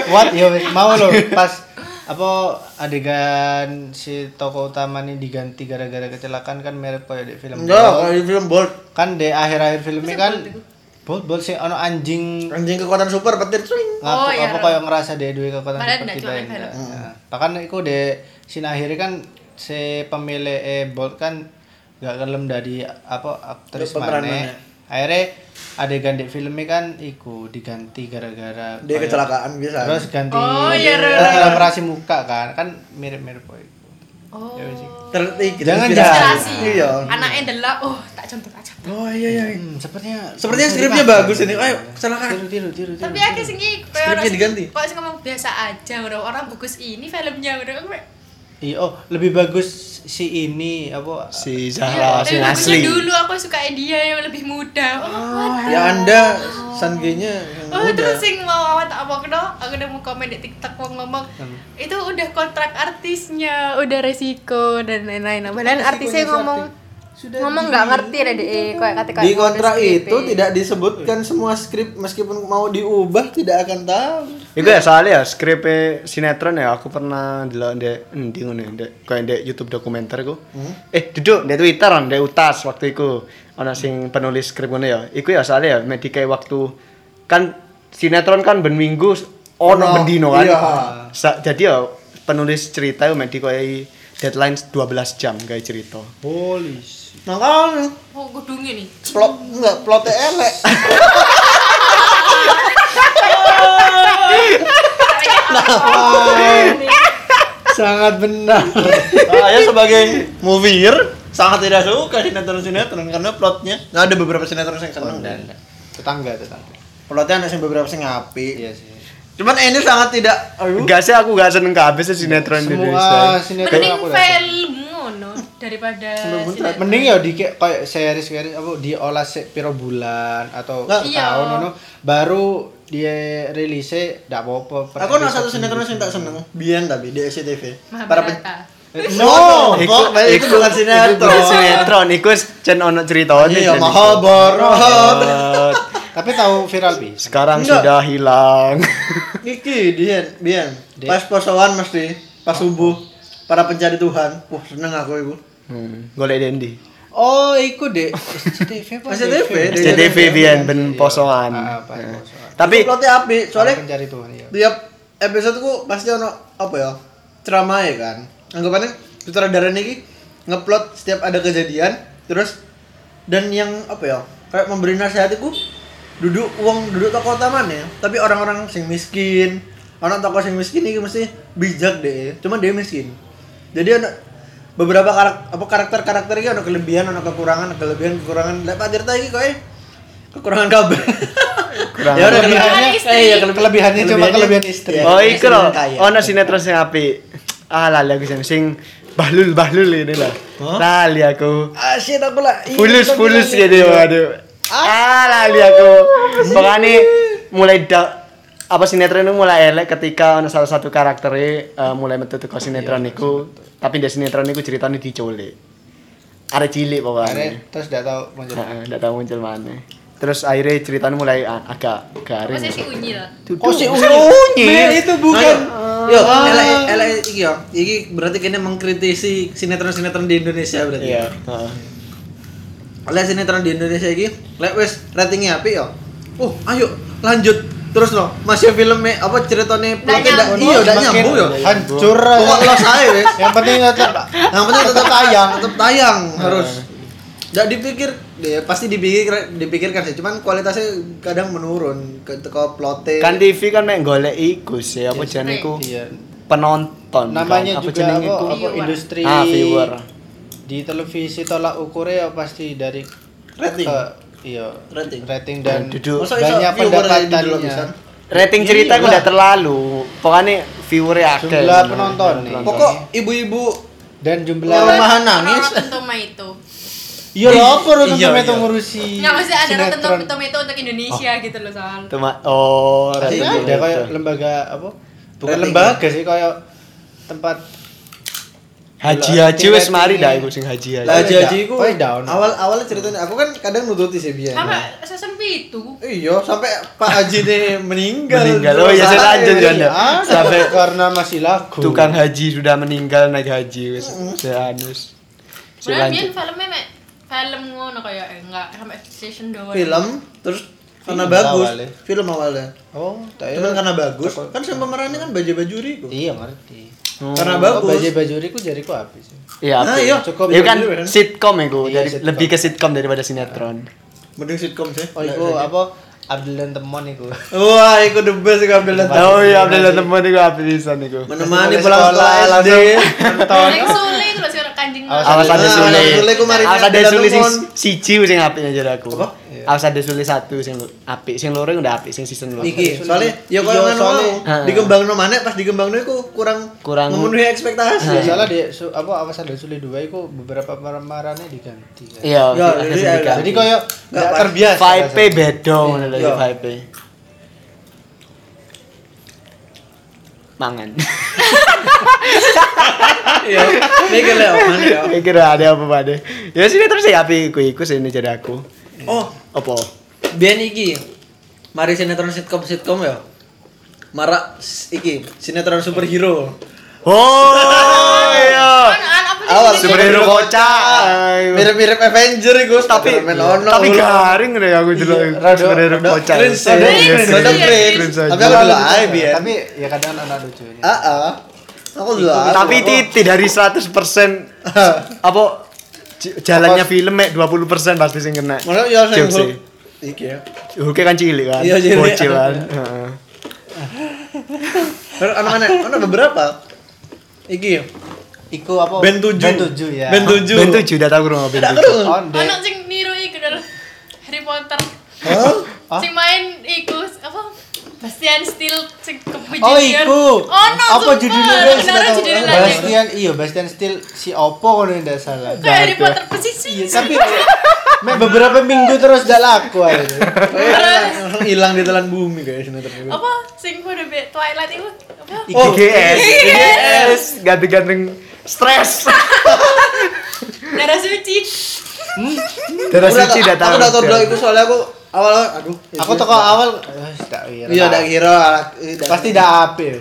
Speaker 8: What? Yo, mau lo pas apa adegan si tokoh utama ini diganti gara-gara kecelakaan kan mirip kayak di film.
Speaker 4: Enggak,
Speaker 8: Bolt.
Speaker 4: kalau di film Bolt,
Speaker 8: Kan di akhir-akhir filmnya kan bol bol si ono anjing
Speaker 4: anjing kekuatan super petir swing.
Speaker 8: ngaku
Speaker 7: Oh, iya.
Speaker 8: apa kayak ngerasa dia duwe kekuatan
Speaker 7: Padahal
Speaker 8: seperti
Speaker 7: nggak cuma
Speaker 8: lain.
Speaker 7: film.
Speaker 8: Nah, Bahkan iku di sin akhirnya kan si pemilik eh, Bolt kan gak kelem dari apa aktris
Speaker 4: Dari pemeran
Speaker 8: mana. Akhirnya adegan di filmnya kan iku diganti gara-gara
Speaker 4: Dia
Speaker 8: kayak-
Speaker 4: kecelakaan biasa.
Speaker 8: Oh, iya. terus ganti
Speaker 7: Oh, iya, Rere.
Speaker 8: terus operasi muka kan kan mirip-mirip kok itu
Speaker 7: Oh.
Speaker 8: Ya wis, iku.
Speaker 4: Ter iki,
Speaker 8: Jangan
Speaker 4: terinspirasi.
Speaker 7: Inspirasi.
Speaker 4: Iya.
Speaker 7: Anaknya adalah oh tak contoh aja.
Speaker 4: Oh iya iya.
Speaker 8: hmm, sepertinya
Speaker 4: Sepertinya skripnya bagus ini. Ayo, kecelakaan.
Speaker 8: tiru tiru tiru tiru
Speaker 7: Tapi aku sing iki kayak orang
Speaker 4: Skripnya
Speaker 7: sing-
Speaker 4: diganti.
Speaker 7: Kok sing ngomong biasa aja orang orang bagus ini filmnya orang aku kayak,
Speaker 8: Iya, oh lebih bagus si ini apa
Speaker 5: si
Speaker 4: Ah,
Speaker 7: Iya,
Speaker 5: Zahra si
Speaker 7: tapi bagusnya
Speaker 5: asli
Speaker 7: dulu aku suka dia yang lebih muda. Oh,
Speaker 4: Ya Anda sanggenya yang
Speaker 7: Oh, terus
Speaker 4: muda.
Speaker 7: sing mau awat apa kena, aku udah mau komen di TikTok mau ngomong
Speaker 4: Hmm.
Speaker 7: itu udah kontrak artisnya, udah resiko dan lain-lain. Padahal artisnya ngomong ngomong nggak ngerti deh deh kayak kata kayak
Speaker 4: Di kontrak itu tidak disebutkan semua skrip meskipun mau diubah tidak akan tahu.
Speaker 5: Iku ya soalnya ya skripnya sinetron ya aku pernah delok ndek endi ngono ya, ndek kayak ndek YouTube dokumenter ku.
Speaker 4: Hmm?
Speaker 5: Eh duduk ndek Twitter ndek utas waktu iku ana sing penulis skrip ngono ya. Iku ya soalnya ya medhi kayak waktu kan sinetron kan ben minggu s- ono
Speaker 4: Ono,
Speaker 5: bendino kan.
Speaker 4: iya.
Speaker 5: Sa- jadi ya penulis cerita ya medhi kayak deadline 12 jam kayak cerita.
Speaker 8: holy shit.
Speaker 4: Makanya
Speaker 7: Oh, gedungnya nih.
Speaker 4: Nah, kan, plot enggak plotnya elek.
Speaker 8: sangat benar
Speaker 4: Saya Ah, ya, sebagai movier sangat tidak suka sinetron-sinetron karena plotnya nah, ada beberapa sinetron yang seneng dan
Speaker 8: tetangga tetangga
Speaker 4: plotnya ada yang beberapa yang ngapi.
Speaker 8: iya sih
Speaker 4: Cuman ini sangat tidak aduh.
Speaker 5: Enggak sih aku gak seneng kabeh sih sinetron
Speaker 8: semua
Speaker 5: Indonesia.
Speaker 8: sinetron
Speaker 7: Mending
Speaker 8: aku udah
Speaker 7: film ngono. ngono daripada sinetron.
Speaker 8: Mending ya di kayak- kayak series series apa diolah se piro bulan atau
Speaker 4: Nggak.
Speaker 8: tahun
Speaker 7: Iya.
Speaker 8: ngono baru dia rilisnya ndak apa-apa. per
Speaker 4: Aku ada
Speaker 8: episode
Speaker 4: satu sinetron yang tak seneng. Biyen tapi di SCTV. Para pe-
Speaker 7: Mahabharata.
Speaker 4: No, kok itu bukan
Speaker 5: Itu bukan
Speaker 4: sinetron.
Speaker 5: sinetron, iku jen ono ceritanya. jen
Speaker 4: Iya,
Speaker 5: iku.
Speaker 4: Mahabharata.
Speaker 5: Eh,
Speaker 8: Tapi tahu viral bis.
Speaker 5: Sekarang
Speaker 4: Enggak.
Speaker 5: sudah hilang.
Speaker 4: Iki, Dian, Dian. Pas posoan mesti, pas subuh, para pencari Tuhan. Wah, seneng aku ibu.
Speaker 5: Hmm, golek Dendi.
Speaker 8: Oh, iku deh. SCTV apa?
Speaker 4: SCTV, deh.
Speaker 5: SCTV biyen ben posoan.
Speaker 8: Iya, Ah, apa, posoan.
Speaker 5: Tapi
Speaker 4: Plotnya api,
Speaker 8: Soalnya
Speaker 4: soalnya
Speaker 8: pencari Tuhan ya.
Speaker 4: tiap episode ku pasti ono apa ya ceramah ya kan anggapannya sutradara ini ngeplot setiap ada kejadian terus dan yang apa ya kayak memberi nasihat itu duduk uang duduk toko taman ya tapi orang-orang sing miskin orang toko sing miskin ini mesti bijak deh cuman dia miskin jadi ono beberapa karak- apa karakter karakter ini ono kelebihan ono kekurangan ono kelebihan kekurangan lek Pak Tirta ini koe kekurangan kabeh
Speaker 5: Kekurangan.
Speaker 4: ya udah
Speaker 7: Kelebihannya
Speaker 4: kelebihannya eh, iya, kelebihan
Speaker 8: Kelebihannya cuma
Speaker 4: Kelebihannya-
Speaker 8: kelebihan istri.
Speaker 4: Iya.
Speaker 5: oh iku lho,
Speaker 4: Sinetron kaya.
Speaker 5: ono sinetron sing apik. Ah lali aku sing sing bahlul-bahlul ini lah. Lali aku.
Speaker 4: asyik aku lah Iya, kita
Speaker 5: Fulus-fulus
Speaker 4: bilang
Speaker 5: gitu
Speaker 4: gitu.
Speaker 5: aduh. Ah lali aku. Pokoknya mulai da- apa sinetron itu mulai elek ketika ono salah satu karakternya eh, mulai metu teko sinetron iku. Tapi di sinetron iku ceritanya diculik. Arek cilik pokoknya.
Speaker 8: Akhirnya, terus ndak tahu muncul.
Speaker 5: Heeh, ndak tahu muncul mana. Terus akhirnya ceritanya mulai a- agak garing.
Speaker 7: Maksudnya si Unyil.
Speaker 4: Oh si Unyi.
Speaker 5: iya.
Speaker 8: Mel, Nah, itu bukan.
Speaker 4: Yo, elek elek iki yo. Iki berarti kene mengkritisi sinetron-sinetron di Indonesia berarti.
Speaker 5: Iya. heeh.
Speaker 4: Oleh sinetron di Indonesia iki, lek wis ratingnya apik yo. Uh, ayo lanjut terus loh. Masih filmnya apa ceritanya plotnya ndak
Speaker 7: nyambung.
Speaker 4: iya ndak
Speaker 8: Makin
Speaker 4: nyambung yo.
Speaker 8: Hancur.
Speaker 4: Pokok los ae wis.
Speaker 8: Yang penting tetap
Speaker 4: Yang penting tetap tayang, tetap tayang
Speaker 5: Ah.
Speaker 4: harus. Ndak dipikir, ya, pasti dipikir dipikirkan sih, cuman kualitasnya kadang menurun ke ke plotnya.
Speaker 5: Kan TV kan mek golek iku sih apa jenenge iku
Speaker 8: Iya.
Speaker 5: penonton. kan?
Speaker 8: namanya
Speaker 5: apa
Speaker 8: juga
Speaker 5: jenenge
Speaker 8: apa,
Speaker 5: iku?
Speaker 8: apa industri
Speaker 5: Ah, viewer.
Speaker 8: di televisi tolak ukurnya ya pasti dari
Speaker 4: Rating.
Speaker 5: Eh,
Speaker 8: ke- iya
Speaker 4: Rating.
Speaker 8: rating dan
Speaker 5: Duduk.
Speaker 4: Masa iso
Speaker 8: banyak
Speaker 4: viewer aja di dulu
Speaker 8: pendapatannya
Speaker 4: bisa?
Speaker 5: Rating cerita
Speaker 8: Iya.
Speaker 5: iku udah terlalu. Pokoknya viewer akeh.
Speaker 8: Jumlah penonton nih.
Speaker 4: Pokok ibu-ibu
Speaker 8: dan jumlah
Speaker 4: Lama Rumahan nangis.
Speaker 7: Rotten Tomato.
Speaker 8: iya loh aku harus
Speaker 4: Iya,
Speaker 8: itu
Speaker 4: iya.
Speaker 8: ngurusi
Speaker 7: Nggak maksudnya ada Rotten
Speaker 8: sinetron. Oh.
Speaker 7: Tomato untuk Indonesia gitu loh soal.
Speaker 5: Tuma- oh,
Speaker 8: Pasti
Speaker 5: rating
Speaker 8: ada
Speaker 5: gitu.
Speaker 8: Iya, kayak lembaga apa
Speaker 4: Iya,
Speaker 8: bukan
Speaker 4: Rating.
Speaker 8: lembaga sih kayak tempat
Speaker 5: haji-haji wes mari
Speaker 8: Rating-ratingnya.
Speaker 5: dah iku sing haji-haji.
Speaker 4: lah jadi ku
Speaker 8: Oh, down.
Speaker 4: awal awalnya ceritanya aku kan kadang nututi sih biar
Speaker 7: Apa season itu?
Speaker 4: iya sampai Pak Haji nih meninggal
Speaker 5: Meninggal. Oh, iya, saya lanjut,
Speaker 4: Iya.
Speaker 5: Jon, ya.
Speaker 8: sampai ah, karena masih laku
Speaker 5: Tukang haji sudah meninggal naik haji wes. Seanus.
Speaker 7: Sebenarnya
Speaker 5: Selanjut.
Speaker 7: biyen filmnya mek film ngono kayak eh, enggak sampai season 2.
Speaker 4: film terus karena
Speaker 8: Film
Speaker 4: bagus
Speaker 8: awalnya.
Speaker 4: film awalnya
Speaker 8: oh tak
Speaker 4: cuman karena bagus kan sama pemerannya kan baju bajuri ku
Speaker 8: iya ngerti
Speaker 4: karena
Speaker 8: Oh,
Speaker 4: bagus
Speaker 8: baju bajuriku jariku habis Oh,
Speaker 5: Iya,
Speaker 4: Nah,
Speaker 5: apa?
Speaker 4: iya.
Speaker 5: Cukup Iya kan
Speaker 4: Iya, bener.
Speaker 5: sitcom iku,
Speaker 8: Iya,
Speaker 5: jadi
Speaker 8: sitcom.
Speaker 5: lebih ke sitcom daripada sinetron.
Speaker 4: mending sitcom sih
Speaker 8: Oh, iku apa? Abdul dan Temon iku.
Speaker 4: wah iku the best iku Abdul Latif.
Speaker 5: Oh iya, Abdul temen iku apa bisa niku.
Speaker 4: menemani
Speaker 8: Mulai
Speaker 4: pulang
Speaker 8: sekolah,
Speaker 4: sekolah SD
Speaker 8: Nonton.
Speaker 7: Nek Sule itu loh sih orang kanjeng.
Speaker 8: Awas
Speaker 5: Awas ada
Speaker 4: Ah,
Speaker 5: Sule.
Speaker 4: ada Sule, ku mari
Speaker 5: Awas ada
Speaker 4: Abdul
Speaker 5: Sule sing
Speaker 4: Temon.
Speaker 5: siji sing apik aja aku.
Speaker 4: Apa?
Speaker 5: Awas ada Sule satu sing lu- apik, sing loro udah apik, sing season loro.
Speaker 4: Iki soalnya ya
Speaker 8: Iya,
Speaker 4: kalau ngono
Speaker 8: soalnya.
Speaker 4: mau
Speaker 5: Heeh.
Speaker 4: digembangno maneh pas digembangno iku kurang
Speaker 5: Kurang-
Speaker 4: memenuhi ekspektasi.
Speaker 8: Ya salah di su, apa awas ada Sule dua iku beberapa maramarannya diganti. Kan?
Speaker 5: Iya,
Speaker 4: Iya,
Speaker 5: ada
Speaker 4: jadi
Speaker 5: sing
Speaker 4: ada-
Speaker 5: diganti.
Speaker 8: Jadi koyo
Speaker 4: Nggak
Speaker 8: enggak
Speaker 4: pas.
Speaker 5: Iya,
Speaker 8: terbiasa.
Speaker 5: vibe beda ngono lho
Speaker 4: Iya.
Speaker 5: vibe. Mangan.
Speaker 4: Iya. Mikir Leo, mana ya?
Speaker 5: Kira ada apa pada? Ya sini terus ya apik iku iku sini jadi aku.
Speaker 4: Oh,
Speaker 5: Apa?
Speaker 4: biyen iki. Mari sinetron sitkom sitkom ya. Marak s- iki sinetron superhero.
Speaker 5: Oh iya.
Speaker 7: Kan apa sih?
Speaker 4: Awal
Speaker 5: superhero kocak.
Speaker 4: Mirip-mirip Avenger iku tapi ono. Iya,
Speaker 5: Tapi garing deh aku dulu superhero
Speaker 4: rada
Speaker 5: kocak.
Speaker 4: cringe sih.
Speaker 5: iya,
Speaker 4: Rada cringe. Tapi aku dulu ae biyen.
Speaker 8: Tapi ya kadang anak lucunya.
Speaker 4: Heeh. Aku dulu ae.
Speaker 5: Tapi titi dari 100% apa j- jalannya film mek 20% pasti sing kena.
Speaker 4: Mana ya
Speaker 5: Jokes
Speaker 4: sing
Speaker 5: sih.
Speaker 4: Hulk. Iki ya.
Speaker 5: Oke kan cilik kan.
Speaker 4: Iya, cilik.
Speaker 5: Bocil kan. Heeh.
Speaker 4: Terus ono mana? Ono beberapa. Iki. ya.
Speaker 8: Iku apa?
Speaker 4: Band 7.
Speaker 8: Band 7 ya.
Speaker 4: Band 7.
Speaker 5: Ben tujuh udah tahu rumah ben
Speaker 4: Tak
Speaker 5: tujuh.
Speaker 4: kerungu.
Speaker 8: On the
Speaker 7: Ono sing niru iku dal Harry Potter.
Speaker 4: Hah?
Speaker 8: Hah? Ah?
Speaker 7: Sing main iku apa? Bastian Steel sing kepijitir.
Speaker 8: Oh iku.
Speaker 7: Oh no.
Speaker 8: Apa judulnya? Bes?
Speaker 7: Benar judulnya lagi.
Speaker 8: Bastian, iya Bastian Steel si Oppo kalau tidak salah.
Speaker 7: Kayak Harry Potter pesisir.
Speaker 8: Tapi me beberapa minggu terus gak laku aja.
Speaker 4: hilang di telan bumi kayak sinetron itu.
Speaker 7: Apa sing kudu be Twilight iku? Apa?
Speaker 4: Oh.
Speaker 5: IGS IGS ganti-ganti stres
Speaker 7: Darah suci.
Speaker 5: darah
Speaker 4: Aku
Speaker 5: suci tidak
Speaker 4: aku
Speaker 5: tahu
Speaker 4: udah tau blog itu soalnya aku awal aduh ya
Speaker 8: Aku
Speaker 4: sih,
Speaker 8: toko
Speaker 4: tak-
Speaker 8: awal, eh, tak kira.
Speaker 4: Iya, udah kira
Speaker 8: Pasti dah apil.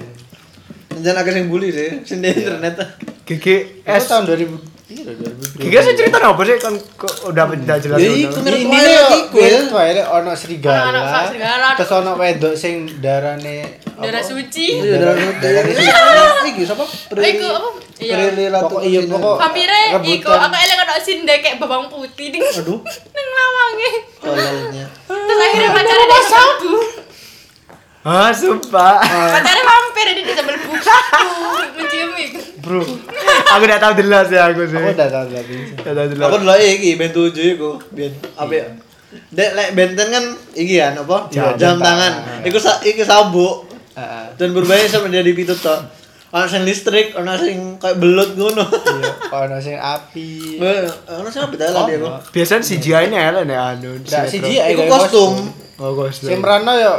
Speaker 4: jangan agak yang bully sih sendiri internet.
Speaker 8: Aku
Speaker 5: GGS
Speaker 8: tahun 2000 iya, 2002.
Speaker 5: GGS cerita apa sih kan kok udah udah jelas
Speaker 4: Ya,
Speaker 5: udah.
Speaker 4: itu. Mirip
Speaker 8: Ini nih
Speaker 4: Twilight iku ya.
Speaker 8: kuil Twilight ono serigala.
Speaker 7: Ono- ono serigala.
Speaker 8: Terus ono wedok sing darane
Speaker 7: Darah suci.
Speaker 4: Iya,
Speaker 8: Darah-
Speaker 4: dari
Speaker 8: darah-
Speaker 4: dari iki siapa?
Speaker 7: Oh, Iku apa? Iya.
Speaker 4: Prilly Latuconsina.
Speaker 8: Pokok- iya, pokok-
Speaker 7: Vampire iku
Speaker 8: Rebutan.
Speaker 7: aku eling ono sinde kayak babang putih ding.
Speaker 4: Aduh.
Speaker 7: Nang lawange.
Speaker 4: Tololnya.
Speaker 7: Terus akhirnya pacarnya dia sabu.
Speaker 5: Ah, sumpah.
Speaker 7: Pacarnya vampir dia sambil buka. Mencium iku.
Speaker 5: Bro, aku udah tahu jelas ya aku sih.
Speaker 8: Aku udah tahu lagi.
Speaker 5: Udah tahu jelas.
Speaker 4: Aku dulu iya, iki band 7 iku, ben apa ya? Dek lek benten kan iki kan apa?
Speaker 5: Jam
Speaker 4: Jam
Speaker 8: tangan.
Speaker 4: tangan. Iku sa- iki sabuk.
Speaker 8: Heeh.
Speaker 4: Dan berbahaya sama dia di pitu tok. Ono sing listrik, ono sing kayak belut ngono.
Speaker 8: Iya, ono sing api.
Speaker 4: Be- Ono sing apa dalan dia kok?
Speaker 5: Biasanya CGI nya Ellen ya
Speaker 4: Nah,
Speaker 5: anu.
Speaker 8: Nggak,
Speaker 5: sinetron.
Speaker 8: CGI.
Speaker 4: Iku
Speaker 8: kayak
Speaker 4: Iya, kostum.
Speaker 5: Oh, kostum.
Speaker 8: Sing merano yo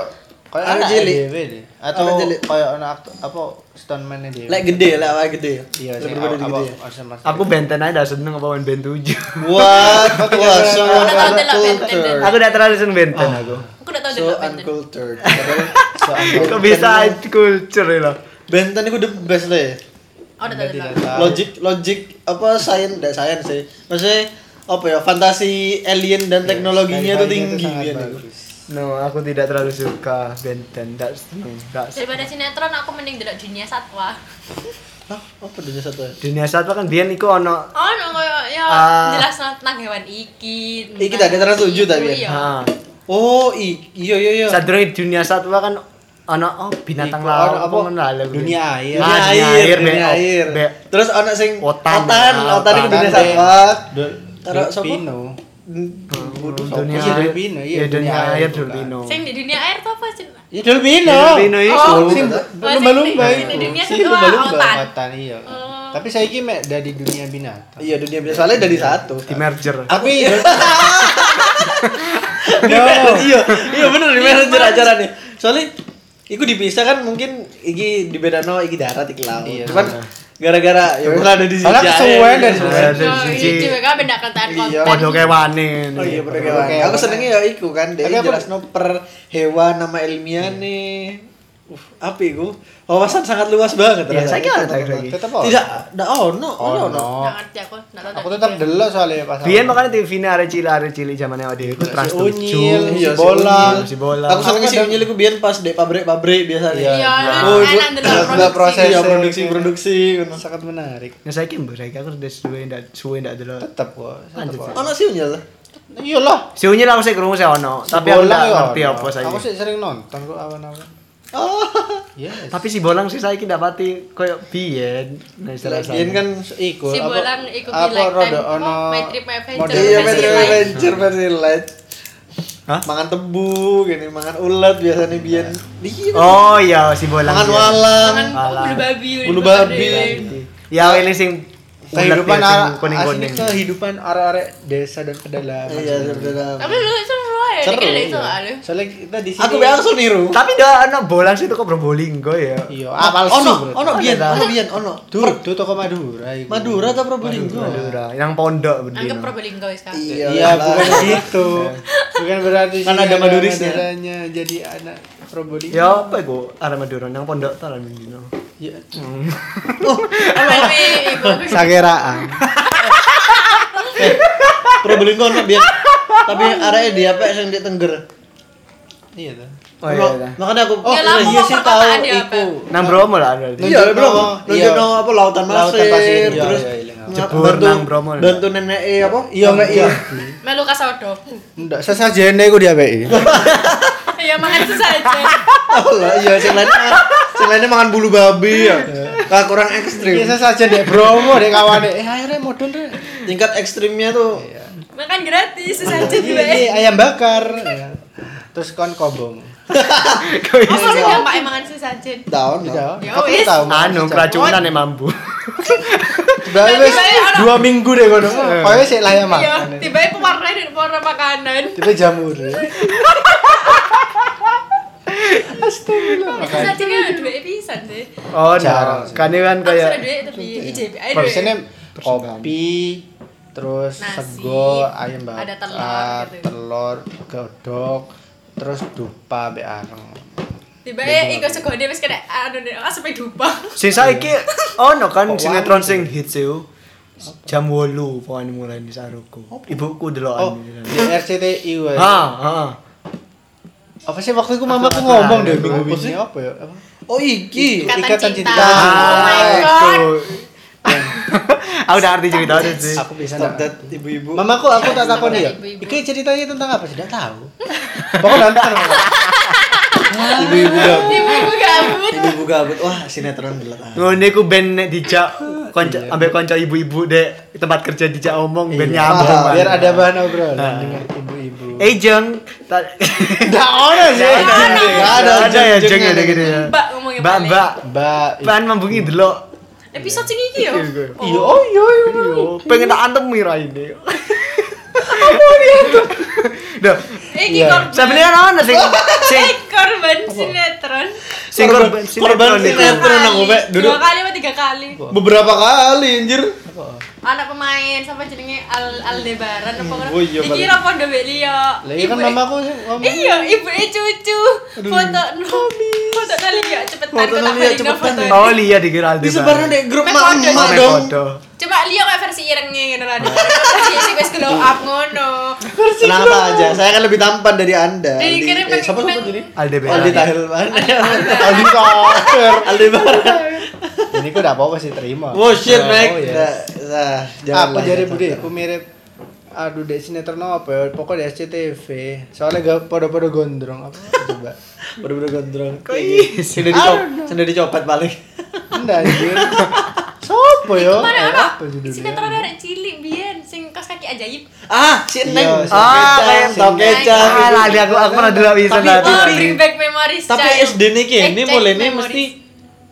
Speaker 8: koyo
Speaker 4: Anak
Speaker 8: anak
Speaker 4: cilik.
Speaker 8: cilik atau
Speaker 4: Anak cilik.
Speaker 8: koyo ono aktor- apa stuntman e dhewe.
Speaker 4: Lek gede, lek awake gede.
Speaker 8: iya
Speaker 4: Lek
Speaker 8: sing
Speaker 4: berbeda
Speaker 8: awak-
Speaker 4: gitu
Speaker 8: awak-
Speaker 4: ya.
Speaker 8: awak sing mas-
Speaker 5: Aku benten aja udah seneng apa main band 7.
Speaker 4: What? Wah,
Speaker 8: Iya,
Speaker 4: so
Speaker 7: Aku tahu delok benten.
Speaker 4: uncultured.
Speaker 5: aku udah terlalu seneng benten
Speaker 4: Oh.
Speaker 5: aku.
Speaker 7: Aku udah tau
Speaker 4: So ah,
Speaker 7: delok Benten.
Speaker 4: uncultured. Padahal
Speaker 5: Kok
Speaker 4: Oh.
Speaker 5: bisa culture ya, loh.
Speaker 4: Benten itu the best lah ya.
Speaker 7: Aku Oh, udah tau delok.
Speaker 8: Tahu.
Speaker 4: Logic, logic apa sains, enggak sains sih. Maksudnya apa ya fantasi alien dan teknologinya tuh
Speaker 8: Iya, Sci-fi-nya
Speaker 4: tinggi
Speaker 8: sangat
Speaker 4: gitu.
Speaker 8: bagus.
Speaker 5: No, aku tidak terlalu suka benten. Enggak seneng. Nggak seneng.
Speaker 7: Daripada sinetron aku mending delok dunia satwa.
Speaker 4: Hah, apa dunia satu ya?
Speaker 5: Dunia satwa kan biyen iku ono
Speaker 7: Oh, no, koyo ya
Speaker 5: Ah.
Speaker 7: jelas tentang hewan iki.
Speaker 4: Iki tadi terus tujuh tadi ya?
Speaker 5: ha.
Speaker 4: Oh, i- iya iya iya.
Speaker 5: Sadurunge dunia satwa kan ono oh binatang
Speaker 8: Iku
Speaker 5: laut
Speaker 8: ono apa?
Speaker 5: apa ngono lah, lho.
Speaker 8: Dunia air.
Speaker 5: Ah, dunia air,
Speaker 4: dunia
Speaker 5: be-
Speaker 4: air.
Speaker 5: be-
Speaker 4: Terus anak sing
Speaker 5: Otan.
Speaker 4: otan,
Speaker 5: Ah,
Speaker 4: otan itu
Speaker 5: otan.
Speaker 4: dunia
Speaker 8: Otan,
Speaker 4: satwa.
Speaker 8: Dul-
Speaker 4: Karo sapa?
Speaker 8: Filipino.
Speaker 5: dunia
Speaker 8: Iya,
Speaker 5: air
Speaker 8: Dolpino, iya,
Speaker 5: iya dunia
Speaker 8: dunia air
Speaker 5: air
Speaker 8: bukan.
Speaker 5: Dolpino
Speaker 7: Sing di dunia air tuh apa sih?
Speaker 4: Iya,
Speaker 8: Ya Dolpino.
Speaker 5: Dolpino itu.
Speaker 8: Oh, sing lumba-lumba
Speaker 7: Sing
Speaker 8: itu.
Speaker 7: Di dunia ah,
Speaker 4: Sing
Speaker 7: satwa
Speaker 4: lumba-lumba,
Speaker 7: otan.
Speaker 8: Kekuatan, iya. Tapi saya ini mek dari dunia binatang.
Speaker 4: Iya dunia biasa soalnya dari satu.
Speaker 5: di merger
Speaker 4: Tapi ya. iya, iya bener di manajer acara nih. Soalnya iku dipisah kan mungkin iki di bedano iki darat iki laut.
Speaker 8: Iya.
Speaker 4: Cuman gara-gara ya udah ada di sini.
Speaker 8: Soalnya kesuwen dan
Speaker 5: Iya, dari
Speaker 7: Oh,
Speaker 5: siji.
Speaker 7: iki juga beda kentaan
Speaker 8: Iya.
Speaker 7: konten.
Speaker 5: Podo kewane
Speaker 4: Oh iya, bener
Speaker 8: Oke,
Speaker 4: Aku
Speaker 8: oke.
Speaker 4: senengnya ya iku kan, dia
Speaker 8: Tapi Hmm. apa-
Speaker 4: jelas per hewan nama ilmiah nih. Uh, apa iku? Wawasan sangat luas banget
Speaker 5: ya
Speaker 8: Iya,
Speaker 4: rasanya.
Speaker 5: saya kira ada lagi
Speaker 8: Tetap apa?
Speaker 4: Tidak, ndak ono, ono, ono.
Speaker 8: Oh, no.
Speaker 7: Nggak ngerti aku, nggak tahu
Speaker 8: Aku
Speaker 7: tadi.
Speaker 8: tetap delok soalnya pas.
Speaker 5: Biyen makanya TV-ne arek cilik arek cilik zamannya awake dhewe ku Trans
Speaker 8: Unyil,
Speaker 5: 7.
Speaker 8: iya, si
Speaker 5: bola,
Speaker 8: Unyil,
Speaker 5: si bola.
Speaker 4: Aku seneng
Speaker 8: Aku
Speaker 4: sih
Speaker 8: kadang-
Speaker 4: unyil iku biyen pas di pabrik-pabrik biasanya.
Speaker 8: Iya.
Speaker 7: Iya,
Speaker 4: Oh, ibu-
Speaker 7: enak delok
Speaker 8: Delok
Speaker 7: produksi.
Speaker 8: proses.
Speaker 4: Iya, produksi-produksi gitu. ngono.
Speaker 8: sangat menarik.
Speaker 5: Ya saya kira mbak saya aku udah suwe ndak suwe ndak delok.
Speaker 8: Tetap kok. tetap
Speaker 5: Lanjut.
Speaker 8: kok.
Speaker 4: Ono sih unyil.
Speaker 8: Iya lah.
Speaker 5: Si Unyil aku sih krungu sih ono, tapi aku
Speaker 8: Bola
Speaker 5: ndak
Speaker 8: ya
Speaker 5: ngerti
Speaker 8: ono.
Speaker 5: apa saya.
Speaker 8: Aku sih sering nonton kok awan-awan. Oh. Yes.
Speaker 5: Tapi si bolang sih saya kira pati koyo biyen. Nah, istilah
Speaker 4: Biyen kan iku
Speaker 7: Si
Speaker 4: apa-
Speaker 7: bolan ikut di
Speaker 8: apa
Speaker 7: like
Speaker 8: rodo
Speaker 7: time.
Speaker 8: ono
Speaker 7: Oh, My trip, my adventure.
Speaker 8: model-
Speaker 4: Iya,
Speaker 7: versi
Speaker 4: Metro
Speaker 7: lain.
Speaker 4: Adventure versi light.
Speaker 5: Hah?
Speaker 4: Mangan tebu, gini mangan ulat biasanya biyen. Iya.
Speaker 5: Oh iya si bolang.
Speaker 4: Mangan
Speaker 5: iya.
Speaker 4: walang.
Speaker 7: Tangan Kan bulu babi.
Speaker 4: Bulu babi.
Speaker 5: Ya ini sing ulet
Speaker 8: kehidupan
Speaker 5: ya, sing
Speaker 8: ara- asli
Speaker 5: kuning-kuning.
Speaker 8: kehidupan arek-arek desa dan pedalaman.
Speaker 4: Iya, sebenarnya.
Speaker 7: Tapi lu itu seru ya,
Speaker 8: Seru,
Speaker 7: dikira itu
Speaker 8: iya.
Speaker 7: nggak lu?
Speaker 8: Soalnya kita di sini.
Speaker 4: Aku be langsung niru.
Speaker 5: Tapi dah anak bolang sih tuh kok Probolinggo ya.
Speaker 8: Iya, apal su.
Speaker 4: Ah, Ono,
Speaker 8: berarti.
Speaker 4: ono biyen, ono biyen, ono.
Speaker 8: Tuh, tuh toko Madura iku.
Speaker 4: Madura atau Probolinggo?
Speaker 5: Madura, yang pondok
Speaker 7: Anggap
Speaker 5: berdino.
Speaker 7: Probolinggo ya sekarang.
Speaker 4: Iya,
Speaker 8: Iya, bukan gitu. Bukan berarti
Speaker 4: Kan
Speaker 8: sini
Speaker 4: ada Madurisnya.
Speaker 8: Maduranya jadi anak Probolinggo.
Speaker 5: Ya apa iku arek Madura yang pondok ta lan bendino.
Speaker 4: Iya.
Speaker 8: Ya.
Speaker 7: Oh, Tapi iku
Speaker 8: Sageraan.
Speaker 4: Probolinggo ono biyen. Tapi areke di apa sing di Tengger.
Speaker 8: Iya tuh.
Speaker 5: Oh iya. iya.
Speaker 4: Makanya aku
Speaker 7: Ya,
Speaker 4: iya,
Speaker 7: Lampung
Speaker 4: iya
Speaker 7: apa
Speaker 4: sih
Speaker 7: perkotaan
Speaker 4: tahu
Speaker 7: dia,
Speaker 4: iku.
Speaker 5: Nang Bromo lah berarti.
Speaker 4: Iya,
Speaker 8: Nunjukno-
Speaker 4: belum.
Speaker 8: iya.
Speaker 4: Nunjukno apa lautan
Speaker 8: Lautan
Speaker 4: pasir,
Speaker 8: pasir, iya,
Speaker 4: terus
Speaker 8: iya, iya, iya.
Speaker 5: Jebur nang Bromo.
Speaker 4: Bantu nenek eh, apa?
Speaker 8: Iya, Mbak, iya.
Speaker 7: melu kasodo.
Speaker 8: Ndak sesajene iku diapeki.
Speaker 7: Iya, makan sesajen.
Speaker 4: Oh lah, iya sing lain makan- sing lainnya makan bulu babi ya. Nah, kurang
Speaker 8: Iya
Speaker 4: ekstrim.
Speaker 8: sesajen dek Bromo dek kawane. Eh akhirnya modon rek.
Speaker 4: Tingkat ekstrimnya tuh
Speaker 7: Makan gratis sesajen
Speaker 8: Ini
Speaker 7: juga.
Speaker 8: ayam bakar. Ya. Iya. Terus kon kobong.
Speaker 5: Kok
Speaker 7: Apa
Speaker 5: iso?
Speaker 7: sih dampak emangan si Sanjin?
Speaker 4: Tahun
Speaker 8: Tidak.
Speaker 7: Ya
Speaker 8: Kapan
Speaker 7: wis.
Speaker 8: tahu?
Speaker 5: Anu keracunan ya mambu.
Speaker 8: Berarti wis
Speaker 7: Tiba-tiba
Speaker 8: dua minggu deh kono. Pokoknya sik
Speaker 7: Iya,
Speaker 8: layak makan.
Speaker 7: tiba-tiba pewarna dan pewarna makanan.
Speaker 8: Tiba jamur. ya.
Speaker 7: Itu Sanjin kan ada duit pisan sih.
Speaker 5: Oh,
Speaker 8: Jarang
Speaker 5: nah.
Speaker 8: sih.
Speaker 5: Kan ini kan
Speaker 7: Aku sudah
Speaker 5: kayak
Speaker 7: duit tapi IJB aja duit.
Speaker 8: Persennya
Speaker 5: Persembahan.
Speaker 8: kopi, terus
Speaker 7: Nasi,
Speaker 8: sego, ayam bakar,
Speaker 7: ada telur gitu.
Speaker 8: telur, godok, terus dupa be areng.
Speaker 7: Tiba-tiba ikut segode wis kena anu deh, ah sampai dupa.
Speaker 5: sing saiki ono kan sinetron sing hits itu. Jam 8 pokoknya mulai di saruku. Ibuku
Speaker 8: Oh,
Speaker 5: delokan.
Speaker 8: di RCTI wae.
Speaker 5: Ha, ha.
Speaker 8: Apa sih waktu itu mamaku ngomong deh
Speaker 5: Apa
Speaker 8: minggu
Speaker 4: sih?
Speaker 8: ini apa ya? Apa?
Speaker 4: Oh iki.
Speaker 7: Ikatan
Speaker 8: Ikatan
Speaker 7: cinta.
Speaker 8: cinta.
Speaker 7: Oh my
Speaker 5: Ah,
Speaker 7: god.
Speaker 5: itu. Aku udah ngerti cerita itu sih.
Speaker 8: Aku bisa
Speaker 4: Stop
Speaker 8: nak-
Speaker 4: that ibu-ibu.
Speaker 8: Mamaku aku tak takon ya.
Speaker 7: Ibu-ibu.
Speaker 8: Iki ceritanya tentang apa sih? Tidak tahu. Pokoknya nonton.
Speaker 4: Ibu-ibu gabut.
Speaker 7: Ibu gabut.
Speaker 4: Ibu-ibu gabut. Wah, sinetron gelap.
Speaker 5: Ngene ku ben nek dijak konco ambek konco ibu-ibu dek tempat kerja dijak omong ben
Speaker 8: Iya.
Speaker 5: nyambung.
Speaker 8: Paham,
Speaker 5: Bang.
Speaker 8: Biar ada bahan obrolan
Speaker 5: Ah.
Speaker 8: dengan ibu-ibu.
Speaker 5: Eh jeng, Ta-
Speaker 8: Tidak ada sih.
Speaker 5: Nggak ada.
Speaker 8: Nggak
Speaker 5: Nggak ada ya jeng
Speaker 8: jeng-jengnya
Speaker 5: ada gitu ya.
Speaker 7: Mbak ngomongnya
Speaker 5: Mbak
Speaker 7: balik.
Speaker 5: mbak,
Speaker 8: Mbak.
Speaker 5: pan membunyi dulu.
Speaker 7: Episode sing iki yo.
Speaker 8: Iya, oh iya iya.
Speaker 5: Yo, pengen tak antem mira ini. Duh,
Speaker 7: Iki
Speaker 8: Iya.
Speaker 7: korban.
Speaker 5: sebenarnya ono sing sing
Speaker 7: Eh, korban sinetron.
Speaker 5: sing korban
Speaker 4: korban
Speaker 5: sinetron itu.
Speaker 4: sinetron. Pernah aku, Mbak, duduk.
Speaker 7: Dua kali atau tiga kali.
Speaker 4: Beberapa kali anjir.
Speaker 7: Anak pemain sama jenenge Al Aldebaran apa ora?
Speaker 4: Oh iya,
Speaker 7: Iki
Speaker 4: balik.
Speaker 7: ra pondo mbek liya.
Speaker 8: Lah iya kan
Speaker 7: Ibuke-
Speaker 8: mamaku sih ngomong.
Speaker 7: Iya, ibu cucu. Foto Foto kali ya cepetan
Speaker 4: Foto
Speaker 7: kok tak
Speaker 4: kali ya,
Speaker 7: balik no
Speaker 4: cepetan.
Speaker 7: foto.
Speaker 5: Oh iya dikira Aldi.
Speaker 4: Disebarnya di grup
Speaker 7: Mek kode
Speaker 4: mak-mak
Speaker 7: sih.
Speaker 4: dong.
Speaker 5: Kodo.
Speaker 7: Coba lihat kayak versi irengnya gitu lah. Versi sih wis glow up ngono.
Speaker 4: Kenapa aja? Saya kan lebih tampan dari Anda. Aldi.
Speaker 7: Dikirim
Speaker 4: Eh, siapa Oh,
Speaker 7: dokumen.
Speaker 4: nama jadi?
Speaker 5: Aldi
Speaker 4: Aldi Tahir mana? Aldi
Speaker 8: Soker.
Speaker 4: Aldi Barat.
Speaker 8: Ini ku udah apa-apa sih terima.
Speaker 4: Oh shit, Mac.
Speaker 8: iya.
Speaker 4: Nah, nah, jangan
Speaker 8: Apa
Speaker 4: lah,
Speaker 8: jari
Speaker 4: ya,
Speaker 8: bude?
Speaker 4: Tante.
Speaker 8: Ku mirip aduh dek sinetron apa ya? Pokoknya di SCTV. Soalnya gak podo-podo gondrong apa coba.
Speaker 4: Bener-bener gondrong.
Speaker 8: iya
Speaker 4: Sudah dicop, sudah dicopet paling.
Speaker 8: Enggak anjir. Sopo yo?
Speaker 7: Mana
Speaker 8: Eh,
Speaker 7: anak?
Speaker 8: Apa judulnya?
Speaker 7: Sinetron ada cilik biyen sing kos kaki ajaib.
Speaker 4: Ah, si Neng.
Speaker 8: Iya, si
Speaker 5: Ah,
Speaker 4: Kecang,
Speaker 5: kayak
Speaker 4: Tau kecap.
Speaker 5: Ah, lah, Aldi, aku aku pernah dulu bisa
Speaker 4: Tapi-
Speaker 5: tadi.
Speaker 7: Oh,
Speaker 4: Tapi-
Speaker 7: bring back memories.
Speaker 4: Tapi
Speaker 7: child.
Speaker 4: SD nih
Speaker 7: Eh,
Speaker 4: kene
Speaker 7: child
Speaker 4: mulai nih
Speaker 7: memories.
Speaker 4: mesti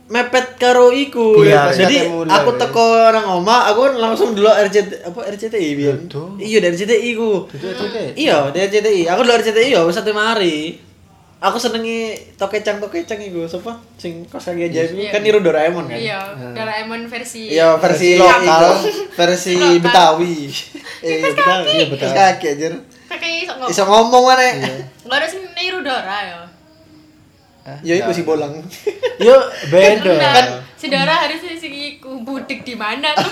Speaker 4: mepet karo iku.
Speaker 5: Iya,
Speaker 4: Jadi
Speaker 8: iya.
Speaker 4: aku teko nang oma, aku kan langsung dulu RCT apa RCTI biyen.
Speaker 8: Ya, Betul.
Speaker 4: Iya, dari RCTI ku.
Speaker 8: Itu SCTV.
Speaker 4: Iya, dari RCTI. Aku dulu RCTI ya satu mari. Aku senengi tokecang tokecang iku, siapa? Sing kos kaki aja
Speaker 7: Iya.
Speaker 4: kan niru Doraemon kan.
Speaker 7: Iya, Doraemon versi.
Speaker 4: Iya, versi
Speaker 8: Versi lokal.
Speaker 4: lokal, versi
Speaker 7: Lokal.
Speaker 4: Betawi. Eh, iya, Betawi, iya Betawi. Kos kaki aja.
Speaker 7: Kakek iso
Speaker 4: Iso
Speaker 7: ngomong.
Speaker 4: ngomong mana?
Speaker 7: Gak ada sing niru Dora ya.
Speaker 4: Ya iku si bolang.
Speaker 8: Yo beda.
Speaker 7: Kan si Dora harus sing iku budik di mana tuh?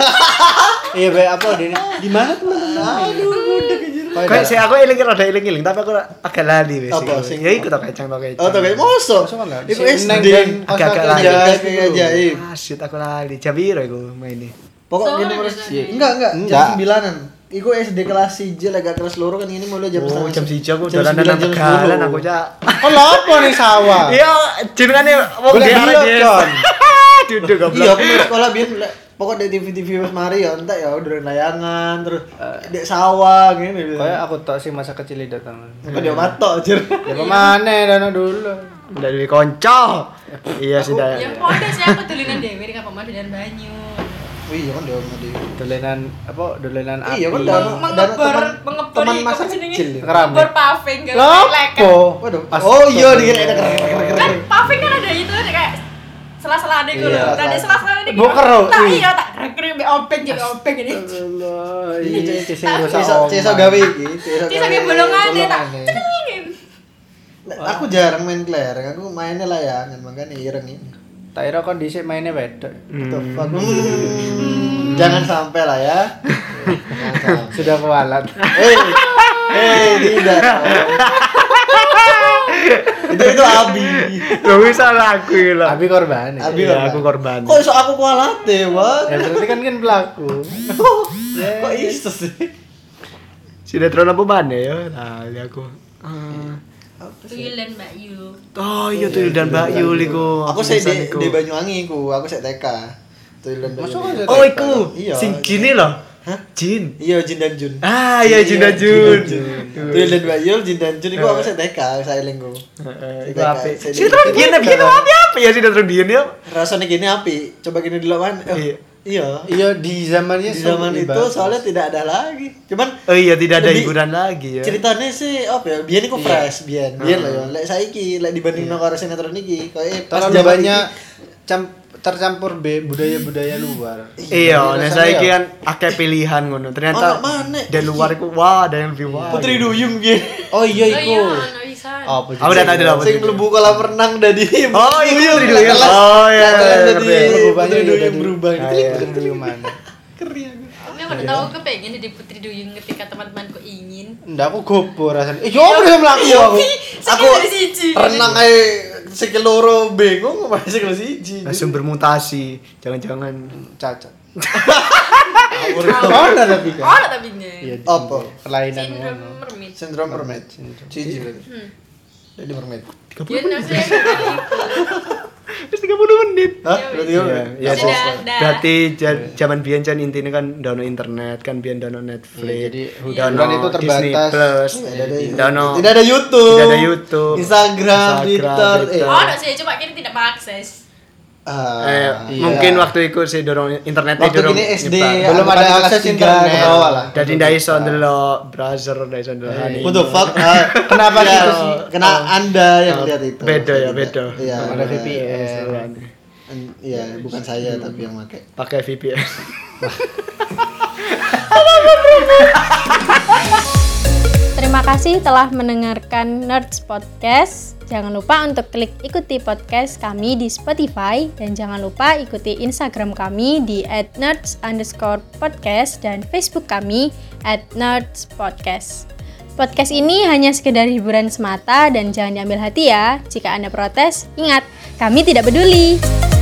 Speaker 8: Iya, be apa Dini? Di mana teman-teman? Aduh, budek
Speaker 5: Kayak saya aku eling rada eling-eling tapi aku agak lali wes. iku.
Speaker 4: Apa, sing-
Speaker 5: Ya iku tak kecang tak kecang.
Speaker 4: Oh, tapi moso.
Speaker 8: Moso kan lah.
Speaker 4: Iku
Speaker 8: Si Neng
Speaker 4: SD
Speaker 8: dan
Speaker 5: agak-agak
Speaker 4: kaki
Speaker 5: lali.
Speaker 4: ajaib, kaki ajaib.
Speaker 5: Ah, shit aku lali. Jam piro iku mainnya?
Speaker 4: Pokok
Speaker 7: Sore
Speaker 4: gini terus.
Speaker 7: biasanya.
Speaker 4: Iya. Enggak, enggak, jam
Speaker 8: Enggak.
Speaker 4: sembilanan. Iku SD kelas 1 agak kelas loro kan ini mulai jam
Speaker 5: Oh,
Speaker 4: setengah
Speaker 5: jam 1 aku
Speaker 4: jam
Speaker 5: dolanan
Speaker 4: sembilan,
Speaker 5: nang
Speaker 4: jam
Speaker 5: tegalan
Speaker 4: sepuluh.
Speaker 5: aku cak.
Speaker 8: Oh, lapo nih sawah?
Speaker 5: Iya, jenengane wong
Speaker 8: Golek
Speaker 5: daerah,
Speaker 8: duit,
Speaker 5: Jess.
Speaker 8: Jon.
Speaker 5: Duduk
Speaker 4: Iya,
Speaker 5: goblok.
Speaker 4: aku mulai sekolah biar pokok dari TV TV Mas Mari ya entek ya udah layangan terus dek sawah gini.
Speaker 8: Kayak aku tak sih masa kecil di datang.
Speaker 4: Kok dia matok anjir.
Speaker 8: Ya kemana dana dulu?
Speaker 5: Ndak duwe kanca. Iya sih dah.
Speaker 7: Ya podo sih aku dolinan dhewe ning apa dan banyu.
Speaker 4: Oh iya kan dia ngomong dia.
Speaker 8: Dolenan apa? Dolenan api.
Speaker 4: Iya kan
Speaker 8: dah.
Speaker 4: dia
Speaker 7: Mengebor, mengebor
Speaker 4: teman
Speaker 7: iku
Speaker 4: masa
Speaker 7: apa jenenge?
Speaker 4: kecil. ya.
Speaker 8: Keramik.
Speaker 7: Bor paving gak
Speaker 8: Lapo?
Speaker 4: Waduh. Oh iya dikira ada keren keren
Speaker 7: Kan
Speaker 4: keren.
Speaker 7: paving kan ada itu ada kayak sela-sela ada
Speaker 4: Iya,
Speaker 7: gitu loh. Nah, ada sela-sela ada gitu.
Speaker 8: Boker loh.
Speaker 7: Tak
Speaker 8: Ih.
Speaker 7: iya tak keren be obeng jadi obeng ini.
Speaker 8: Allah, iya itu sing
Speaker 4: Cesok cesok gawe iki, cesok
Speaker 7: Terus ada bolongan dia tak gitu.
Speaker 8: Bolongan, ya.
Speaker 7: cekingin.
Speaker 4: Nah, Aku jarang main kelereng, aku mainnya layangan makanya ireng ini.
Speaker 8: Tak kira kan kon dhisik maine wedok.
Speaker 4: Tuh, fuck. Hmm. Jangan sampai lah ya. Jangan sampai.
Speaker 8: Sudah kewalat.
Speaker 4: Hei, hei, tidak. itu itu Abi.
Speaker 5: Lho wis salah aku iki lho.
Speaker 8: Abi korban. ya.
Speaker 4: Abi
Speaker 5: Iya,
Speaker 4: korban.
Speaker 5: aku korban.
Speaker 4: Kok iso aku kualat deh,
Speaker 8: Ya
Speaker 4: Bang?
Speaker 8: berarti kan kan pelaku.
Speaker 4: Kok iso sih?
Speaker 5: Sinetron apa mana ya? Lali aku. Ah.
Speaker 7: Tuilan Mbak Yu.
Speaker 5: Oh iya tuh dan Mbak Yuli ku.
Speaker 4: Aku saya di,
Speaker 5: Biasanya ku.
Speaker 4: di Banyuwangi ku, aku saya TK. Tuh, di Banyuwangi.
Speaker 8: Masuk aja.
Speaker 5: Oh iku,
Speaker 4: Iya.
Speaker 5: sing gini loh. Jin.
Speaker 4: Iya Jin dan Jun.
Speaker 5: Ah, iya Jin dan Jun.
Speaker 4: Tuyul dan Bayul, Jin dan Jun itu aku saya TK, saya linggo.
Speaker 5: Heeh,
Speaker 4: Saya
Speaker 5: Itu
Speaker 4: TK,
Speaker 5: api.
Speaker 4: saya
Speaker 5: Sinetron
Speaker 4: linggo.
Speaker 5: Dian, bikin apa apa ya sinetron Dian ya?
Speaker 4: Rasanya gini api, coba gini dulu kan.
Speaker 5: Iya.
Speaker 4: Eh, Iya.
Speaker 8: Iya di zamannya
Speaker 4: Di zaman itu soalnya tidak ada lagi. Cuman
Speaker 5: Oh iya, tidak ada
Speaker 4: Lebih-
Speaker 5: hiburan lagi ya.
Speaker 4: ceritanya sih apa ya? Biyen iku fresh, biyen. Biyen lah ya. Lek saiki lek dibanding nang karo sinetron iki, koyo pas
Speaker 8: terlalu
Speaker 4: zaman
Speaker 8: banyak
Speaker 4: iki-
Speaker 8: cam- tercampur be- budaya-budaya luar.
Speaker 5: Iya, nah
Speaker 8: Rasanya
Speaker 5: saya
Speaker 8: ya.
Speaker 5: kan akeh pilihan ngono. Ternyata
Speaker 4: Ono maneh.
Speaker 5: dari luar itu wah ada yang lebih wah.
Speaker 4: Putri Duyung biyen.
Speaker 8: Oh iya Oh,
Speaker 7: Oh
Speaker 8: iku.
Speaker 7: iya, no bisa.
Speaker 8: Apa
Speaker 5: Aku udah tahu dulu.
Speaker 4: Sing mlebu kolam renang dari
Speaker 5: Oh, iya, Putri Duyung.
Speaker 4: kelas-
Speaker 5: Oh, iya, iya,
Speaker 4: kelas
Speaker 5: gitu.
Speaker 4: dari
Speaker 5: ngerti.
Speaker 4: Putri Duyung berubah.
Speaker 5: Iya,
Speaker 8: Putri Duyung mana?
Speaker 6: Tapi aku udah tahu kepengen jadi putri duyung ketika teman-temanku ingin.
Speaker 8: Ndak aku gopo rasanya. Eh, yo
Speaker 5: Iya.
Speaker 8: udah melaku
Speaker 4: Iya,
Speaker 8: aku.
Speaker 4: Aku renang ae sikil loro bingung apa sikil siji.
Speaker 5: Langsung bermutasi, jangan-jangan.
Speaker 8: Cacat. Ngawur
Speaker 5: Iya.
Speaker 8: Mana tapi
Speaker 5: kan.
Speaker 6: Oh, ada tabinya.
Speaker 8: Iya.
Speaker 4: Apa?
Speaker 8: Kelainan ngono.
Speaker 6: Sindrom mermaid.
Speaker 4: Sindrom mermaid. Siji berarti. Jadi mermaid.
Speaker 6: Ya, maksudnya aku
Speaker 5: Terus 30 menit.
Speaker 4: Hah? Berarti
Speaker 5: Iya,
Speaker 4: apa?
Speaker 5: iya.
Speaker 6: Masih
Speaker 5: Jas.
Speaker 6: ada- ada.
Speaker 5: Berarti ja-
Speaker 4: Iya.
Speaker 5: zaman biyen kan intinya kan download internet, kan biyen download Netflix.
Speaker 8: Iya, jadi
Speaker 5: download
Speaker 8: hiburan itu
Speaker 5: Disney
Speaker 8: terbatas.
Speaker 5: Plus.
Speaker 4: Tidak ada
Speaker 5: Download.
Speaker 4: Tidak ada YouTube.
Speaker 5: Tidak ada YouTube.
Speaker 4: Instagram,
Speaker 5: Instagram,
Speaker 4: Twitter. eh.
Speaker 5: Twitter.
Speaker 6: Oh, ada sih, cuma kini tidak mengakses.
Speaker 4: ah,
Speaker 5: Eh,
Speaker 4: iya.
Speaker 5: mungkin waktu itu sih dorong internetnya
Speaker 4: waktu
Speaker 5: dorong
Speaker 4: gini SD
Speaker 5: nyebar.
Speaker 8: Belum
Speaker 4: angkatan
Speaker 8: ada
Speaker 4: kelas
Speaker 8: akses
Speaker 4: tiga
Speaker 8: internet.
Speaker 4: ke bawah Iya. lah.
Speaker 5: Jadi ndak iso ndelok browser, ndak iso ndelok anime.
Speaker 4: What the fuck? Ah, kenapa
Speaker 5: Iya.
Speaker 4: gitu sih? Kena Anda yang lihat itu.
Speaker 5: Beda ya,
Speaker 4: Tidak.
Speaker 5: beda.
Speaker 4: Iya.
Speaker 8: Ada
Speaker 4: iya.
Speaker 8: VPN.
Speaker 4: En- Iya, bukan saya tapi yang pakai.
Speaker 5: Pakai VPN.
Speaker 9: Terima kasih telah mendengarkan Nerds Podcast. Jangan lupa untuk klik ikuti podcast kami di Spotify dan jangan lupa ikuti Instagram kami di @nerds_podcast dan Facebook kami @nerdspodcast. Podcast ini hanya sekedar hiburan semata dan jangan diambil hati ya. Jika Anda protes, ingat, kami tidak peduli.